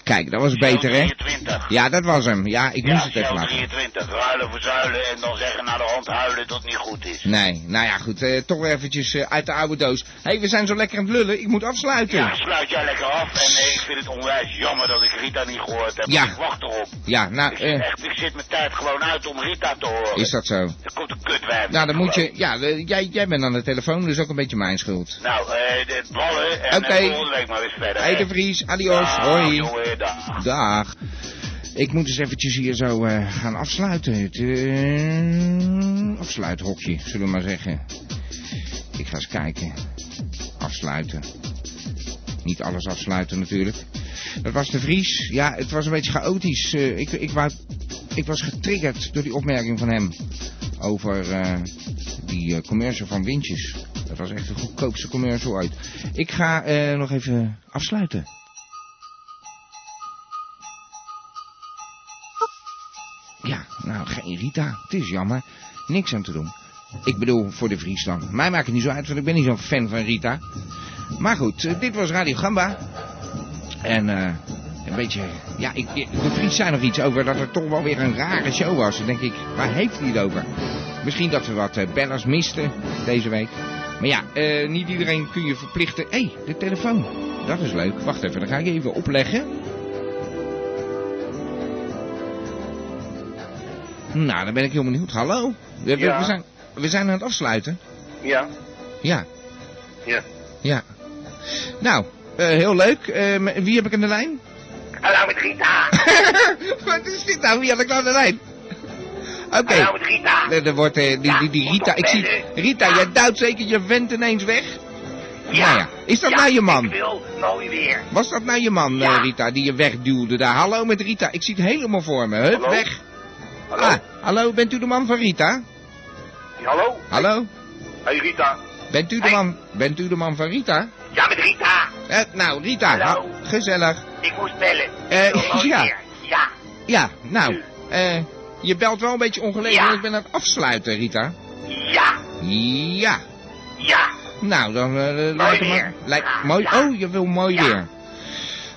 Kijk, dat was beter, hè?
23.
Ja, dat was hem. Ja, ik moest het even
Shell
laten.
23. Ruilen voor zuilen en dan zeggen naar de hand huilen dat het niet goed is.
Nee, nou ja, goed. eh, toch weer eventjes eh, uit de oude doos. Hé, hey, we zijn zo lekker aan het lullen. Ik moet afsluiten.
Ja, sluit jij lekker af. En eh, ik vind het onwijs jammer dat ik Rita niet gehoord heb.
Ja.
Ik wacht erop.
Ja, nou,
Ik zit,
eh,
echt, ik zit mijn tijd gewoon uit om Rita te horen.
is dat zo?
Er komt een kutwijf.
Nou, dan moet
Gewoon.
je... Ja, eh, jij, jij bent aan de telefoon, dus ook een beetje mijn schuld.
Nou, eh, de ballen en
Oké.
eh, volgende week maar weer verder.
Hey,
hè.
de Vries. Adios.
Dag,
Hoi.
jongen, dag.
Dag. Ik moet eens eventjes hier zo eh, gaan afsluiten. Het eh, afsluithokje, zullen we maar zeggen. Ik ga eens kijken. Afsluiten. Niet alles afsluiten natuurlijk. Dat was de Vries. Ja, het was een beetje chaotisch. Eh, ik, ik, wou, ik was getriggerd door die opmerking van hem. Over eh, die eh, commercial van Windjes. Dat was echt de goedkoopste commercial ooit. Ik ga eh, nog even afsluiten. Ja, nou, geen Rita. Het is jammer. Niks aan te doen. Ik bedoel, voor de Vries dan. Mij maakt het niet zo uit, want ik ben niet zo'n fan van Rita. Maar goed, eh, dit was Radio Gamba. En eh, een beetje... Ja, ik, ik- de Vries zei nog iets over dat het toch wel weer een rare show was. Dan denk ik, waar heeft hij het over? Misschien dat we wat eh, bellers misten deze week. Maar ja, eh, niet iedereen kun je verplichten... Hé, hey, de telefoon. Dat is leuk. Wacht even, dan ga ik even opleggen. Nou, dan ben ik heel benieuwd. Hallo? We, we-
Ja.
we zijn, we zijn aan het afsluiten.
Ja.
Ja.
Ja.
Ja. Nou, eh, heel leuk. Eh, m- wie heb ik aan de lijn?
Hallo met Rita.
Wat is dit nou? Wie had ik nou aan de lijn? Oké.
En nou met Rita.
Dat- dat wordt, eh, die,
Ja,
die, die
moet
Rita,
toch
ik zie...
bellen.
Rita,
Ja.
jij duwt zeker je vent ineens weg? Nou ja, is dat
ja,
nou je man?
Ik wil mooi weer.
Was dat nou je man,
Ja.
eh, Rita, die je wegduwde daar? Hallo met Rita, ik zie het helemaal voor me. Hup,
Hallo?
weg.
Hallo?
Ah, hallo, bent u de man van Rita?
Hallo?
Hallo?
Hey Rita.
Bent u de
Hey.
man, bent u de man van Rita?
Ja, met Rita.
Eh, nou, Rita,
Hallo?
ha- gezellig.
Ik moest bellen.
Eh,
Ik wil mooi
ja.
weer. Ja.
Ja, nou, eh, je belt wel een beetje ongelegen,
Ja.
want ik ben aan het afsluiten, Rita.
Ja.
Ja,
Ja.
nou, dan eh, lijkt het
weer.
me- lijkt-
Ja.
mooi,
Ja.
Oh, je wil mooi
Ja.
weer.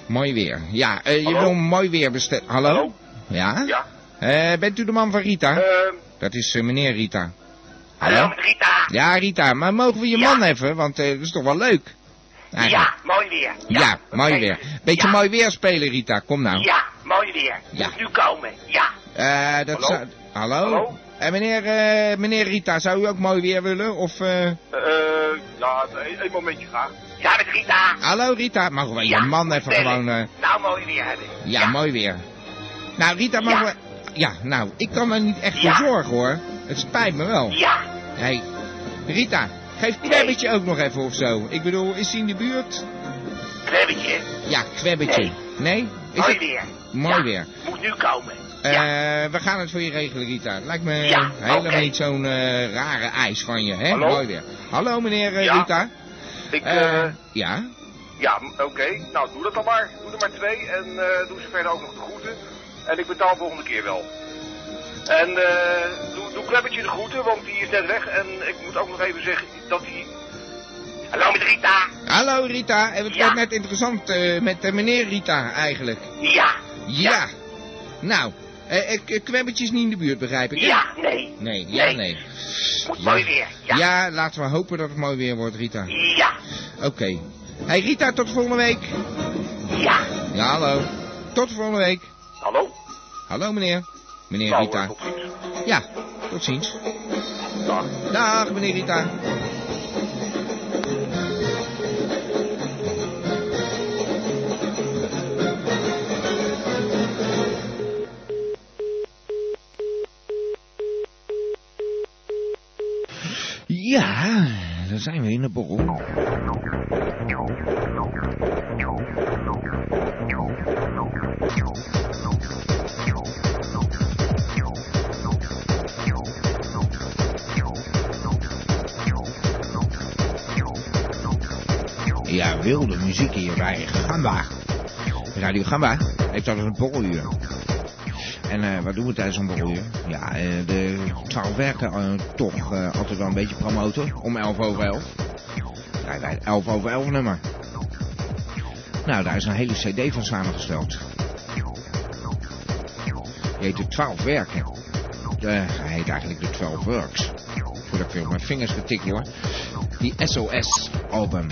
Mooi weer. Ja, eh, je
Hallo?
wil mooi weer bestellen. Hallo?
Hallo?
Ja?
Ja.
Eh, bent u de man van Rita?
Ehm,
Dat is eh, meneer Rita.
hallo met Rita.
Ja, Rita, maar mogen we je
Ja.
man even? Want eh, dat is toch wel leuk? Eigenlijk.
Ja, mooi weer.
Ja, mooi weer. Beetje
Ja.
mooi weer spelen, Rita. Kom nou.
Ja, mooi weer.
Ja.
Moet nu komen. Ja.
Eh, dat
Hallo?
zou... Hallo?
Hallo?
Eh, meneer, eh, meneer Rita, zou u ook mooi weer willen? Of, eh,
Eh, ja, een momentje graag. Ja, met Rita.
Hallo Rita, mogen we
Ja,
je man even
bellen.
gewoon... eh,
Nou, mooi weer hebben.
ja, mooi weer. Nou, Rita, mogen
Ja.
we... Ja, nou, ik kan er niet echt voor
Ja.
zorgen, hoor. Het spijt me wel.
Ja.
Hé, hey, Rita, geef Knebbetje ook nog even of zo. Ik bedoel, is hij in de buurt?
Klebbetje.
Ja, Kwebbetje. Nee? Is
Mooi
het-
weer.
Mooi
Ja,
weer.
Moet nu komen.
Eh,
ja.
we gaan het voor je regelen, Rita. Het Lijkt me
Ja,
helemaal
oké.
niet zo'n eh, rare eis van je, hè?
Hallo?
Mooi weer. Hallo, meneer eh,
Ja.
Rita.
Ik,
Eh,
eh,
ja?
ja, m- oké. Nou, doe dat dan maar. Doe er maar twee en eh, doe ze verder ook nog de groeten. En ik betaal volgende keer wel. En eh, doe, doe Klebbetje de groeten, want die is net weg. En ik moet ook nog even zeggen dat die... Hallo met Rita.
Hallo, Rita. En het
Ja.
werd net interessant eh, met eh, meneer Rita, eigenlijk.
Ja.
Ja. Nou, eh, eh, k- Kwebbetje is niet in de buurt, begrijp ik, hè?
Ja, Ah, nee.
Nee, ja, nee.
Moet
Ja.
mooi weer. Ja. Ja.
Ja, laten we hopen dat het mooi weer wordt, Rita.
Ja.
Oké. Hey Rita, tot volgende week. Ja, hallo. Tot volgende week.
Hallo?
Hallo, meneer. Meneer
Nou,
Rita.
eh, tot ziens.
Ja, tot ziens.
Dag.
Dag, meneer Rita. Ja, daar zijn we in de borrel. Ja, wilde muziek hier bij Gamba. Radio Gamba heeft altijd een borreluur. En eh, wat doen we tijdens een borreluur? Ja, eh, de trouwwerken eh, toch eh, altijd wel een beetje promoten. Om 11 over 11. Draaien wij het 11 over 11 nummer. Nou, daar is een hele cd van samengesteld. Die heet de 12 werken. De, hij heet eigenlijk de 12 works. Voordat ik weer op mijn vingers getikt hoor. Die SOS album.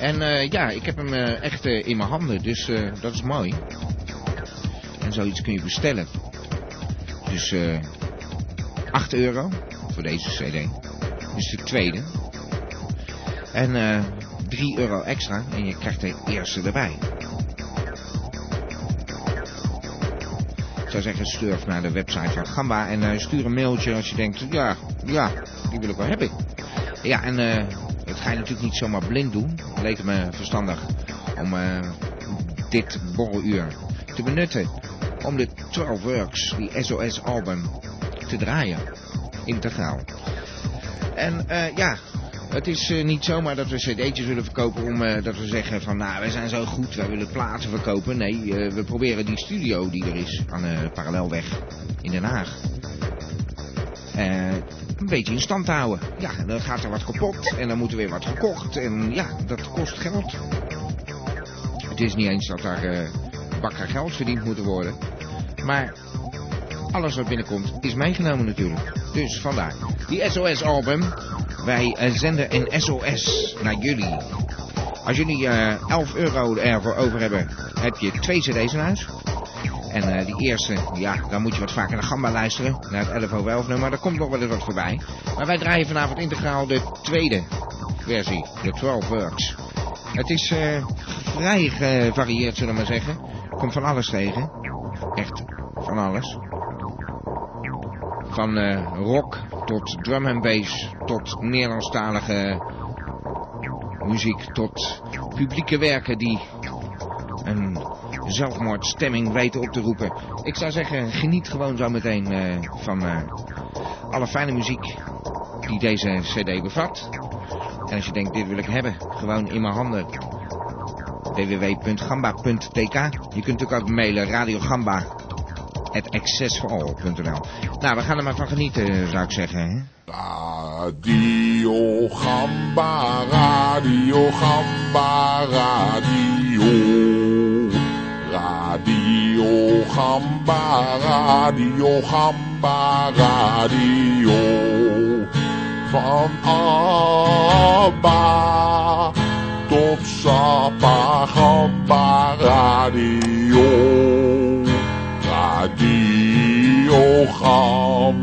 En eh, ja, ik heb hem eh, echt eh, in mijn handen, dus eh, dat is mooi. En zoiets kun je bestellen. Dus eh 8 euro voor deze CD. Dus de tweede. En eh 3 euro extra en je krijgt de eerste erbij. Ik zou zeggen, surf naar de website van Gamba en eh, stuur een mailtje als je denkt, ja, ja, die wil ik wel hebben. Ja, en eh, dat ga je natuurlijk niet zomaar blind doen. Het leek me verstandig om eh, dit borreluur te benutten om de 12 Works, die SOS-album, te draaien. Integraal. En eh, ja, het is eh, niet zomaar dat we cd'tjes willen verkopen om eh, dat we zeggen van nou, wij zijn zo goed, wij willen platen verkopen. Nee, eh, we proberen die studio die er is aan de Parallelweg in Den Haag eh, een beetje in stand te houden. Ja, en dan gaat er wat kapot en dan moet er weer wat gekocht. En ja, dat kost geld. Het is niet eens dat daar eh, bakken geld verdiend moet worden. Maar alles wat binnenkomt is meegenomen natuurlijk. Dus vandaar. Die SOS-album. Wij eh, zenden een SOS naar jullie. Als jullie eh 11 euro ervoor over hebben, heb je twee cd's in huis. En eh, die eerste, ja, dan moet je wat vaker naar Gamba luisteren. Naar het 11 over 11 nummer, daar komt nog wel eens wat voorbij. Maar wij draaien vanavond integraal de tweede versie, de 12 Works. Het is eh, vrij gevarieerd, zullen we maar zeggen. Komt van alles tegen. Echt van alles. Van eh, rock tot drum en bass tot Nederlandstalige muziek tot publieke werken die een zelfmoordstemming weten op te roepen. Ik zou zeggen, geniet gewoon zo meteen eh, van eh, alle fijne muziek die deze cd bevat. En als je denkt, dit wil ik hebben, gewoon in mijn handen. www.gamba.tk Je kunt natuurlijk ook mailen, radiogamba.accessforall.nl Nou, we gaan er maar van genieten, zou ik zeggen. Hè?
Radio Gamba, Radio Gamba, Radio. Radio Gamba, Radio Gamba, Radio. Van Abba tot Sappa Gamba, Radio. Radio Gamba,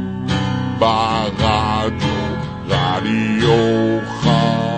Radio, Radio Gamba.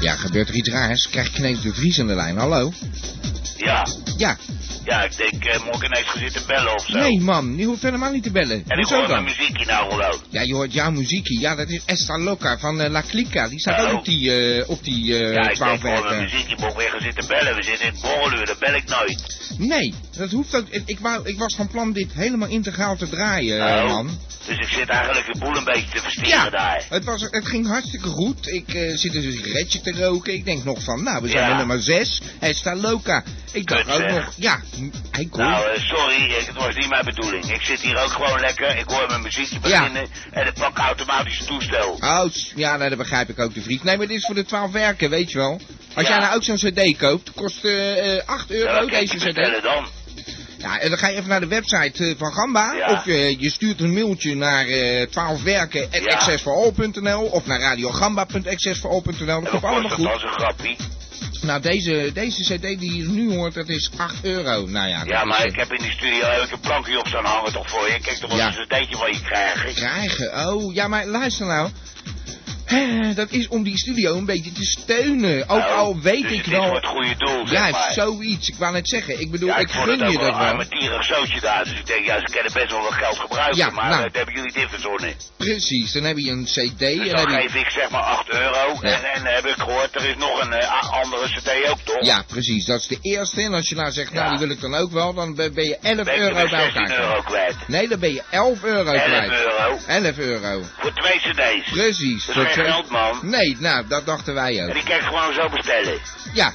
Ja, gebeurt er iets raars? Krijg ik ineens de Vries aan de lijn? Hallo?
Ja,
Ja.
ja, ik denk, eh moet ik ineens gaan zitten bellen of zo?
Nee, man, je hoeft helemaal niet te bellen.
En ik
Hoezo
hoor
dan?
mijn muziekje nou gewoon.
Ja, je hoort jouw muziekje. Ja, dat is Esta Loca van eh, La Clica. Die staat
Ja.
ook op die, eh, op die eh
Nou. ja, ik denk
12
gewoon mijn
werken.
muziekje moet ik weer gaan zitten bellen. We zitten in het borreluur, dat bel ik nooit.
Nee, dat hoeft ook. Ik, ik, wou, ik was van plan dit helemaal integraal te draaien, eh,
Oh.
man.
Dus ik zit eigenlijk de boel een beetje te verstieren
Ja,
daar.
het, was, het ging hartstikke goed. Ik eh, zit een sigaretje te roken. Ik denk nog van, nou, we zijn
Ja.
bij nummer 6. Esta Loca. Ik dacht
Kut,
ook
zeg.
nog, ja, hij komt.
Nou, eh, sorry, ik- het was niet mijn bedoeling. Ik zit hier ook gewoon lekker, ik hoor mijn muziekje beginnen en ik pak automatisch het toestel.
Oh, s- ja, nee, dat begrijp ik ook, de vriend. Nee, maar dit is voor de 12 werken, weet je wel. Als
Ja.
jij nou ook zo'n cd koopt, kost eh eh, 8
Ja,
euro
wat kan ik
deze
je vertellen
cd.
dan?
Ja, en dan ga je even naar de website eh, van Gamba.
Ja.
Of eh, je, je stuurt een mailtje naar eh 12werken.accessforall.nl of naar radiogamba.accessforall.nl. Dat
Hoe
komt allemaal
kost dat
goed.
als een grappie?
Nou, deze, deze cd die je nu hoort, dat is 8 euro. Nou ja,
Ja,
dat is,
maar
eh,
ik heb in die studio heb ik een plankje op staan hangen toch voor je. Kijk toch wel
Ja.
eens een deetje wat je krijgt.
krijgen. Oh, ja, maar luister nou. Eh, Dat is om die studio een beetje te steunen. Ook
Nou,
al weet
dus
ik
het is
wel...
voor het goede doel, zeg
Ja,
maar.
zoiets. Ik wou net zeggen. Ik bedoel,
ja,
ik
vond het
gun
ook
je
wel
dat
Een
wel.
armetierig zootje daar. Dus ik denk, ja, ze kunnen best wel wat geld gebruiken.
Ja,
maar
nou.
eh, dat hebben jullie dit verzonnen.
Precies. Dan heb je een cd.
Dus
en
dan
heb je...
geef ik zeg maar 8 euro.
Ja.
En, en heb ik gehoord, er is nog een eh, a- andere cd ook toch?
Ja, precies. Dat is de eerste. En als je nou zegt, nou
Ja.
die wil ik dan ook wel, dan ben ben je 11
Ben ik
euro
er
bij
16
elkaar.
euro kwijt.
Nee, dan ben je 11 euro
11
kwijt.
euro.
11 euro.
Voor twee cd's.
Precies.
Dat is
Voor
geen
twee-
geld, man.
Nee, nou, dat dachten wij
En
ook.
die kan ik gewoon zo bestellen.
Ja,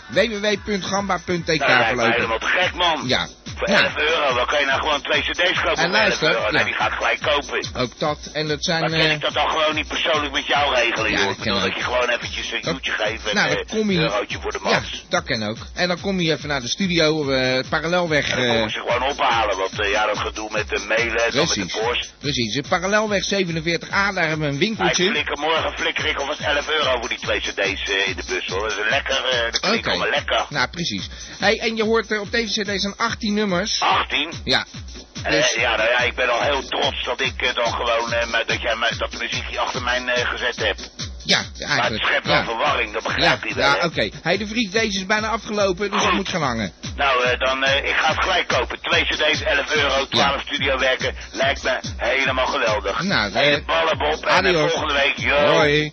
www.gamba.tk
Nou, dat lijkt me
verlopen.
helemaal te gek, man.
Ja.
Voor
Nou.
11 euro, dan kan je nou gewoon twee cd's
En
kopen. voor 11
luister,
euro. Nee,
ja.
die gaat gelijk kopen.
Ook dat. En dat
Maar
zijn...
kan
eh,
ik dat dan gewoon niet persoonlijk met jou regelen,
Ja,
joh?
dat
Ik bedoel
kan
dat
ook.
je gewoon eventjes een duwtje geeft en
nou,
eh,
dan kom je...
een eurotje voor de
ja,
max.
dat kan ook. En dan kom je even naar de studio, eh, het parallelweg...
En dan
eh,
kom ik ze gewoon ophalen, want eh, ja, dat gedoe met de mailen en dan met de
Precies.
post.
Precies, in parallelweg 47A, daar hebben we een
Maar ik
winkeltje.
flikker morgen flikker ik alvast 11 euro voor die twee cd's eh, in de bus, hoor. Dat is een lekker, eh dat klinkt allemaal lekker.
Nou, precies. Hey, en je hoort eh, op deze cd zijn 18 nummers.
18?
Ja,
Eh,
Dus-
ja, nou ja, ik ben al heel trots dat ik eh, dan gewoon, eh, maar dat jij mij- dat de muziekje achter mijn eh, gezet hebt.
ja,
Maar het
eigenlijk.
schept wel
ja,
verwarring, dat
ja,
begrijp je wel.
ja
hè?
oké. Hey, de vriend, deze is bijna afgelopen, dus ik moet gaan hangen.
Nou, eh, dan, eh, ik ga het gelijk kopen. Twee cd's, 11 euro, 12 studio werken. Lijkt me helemaal geweldig.
Nou,
hey,
eh,
de ballen Bob en eh,
adios.
volgende week, yo.
Hoi.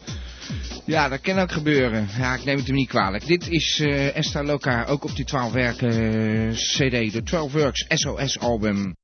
Ja, dat kan ook gebeuren. Ja, ik neem het hem niet kwalijk. Dit is eh Esta Loca, ook op die 12 werken eh, CD, de 12 Works SOS album.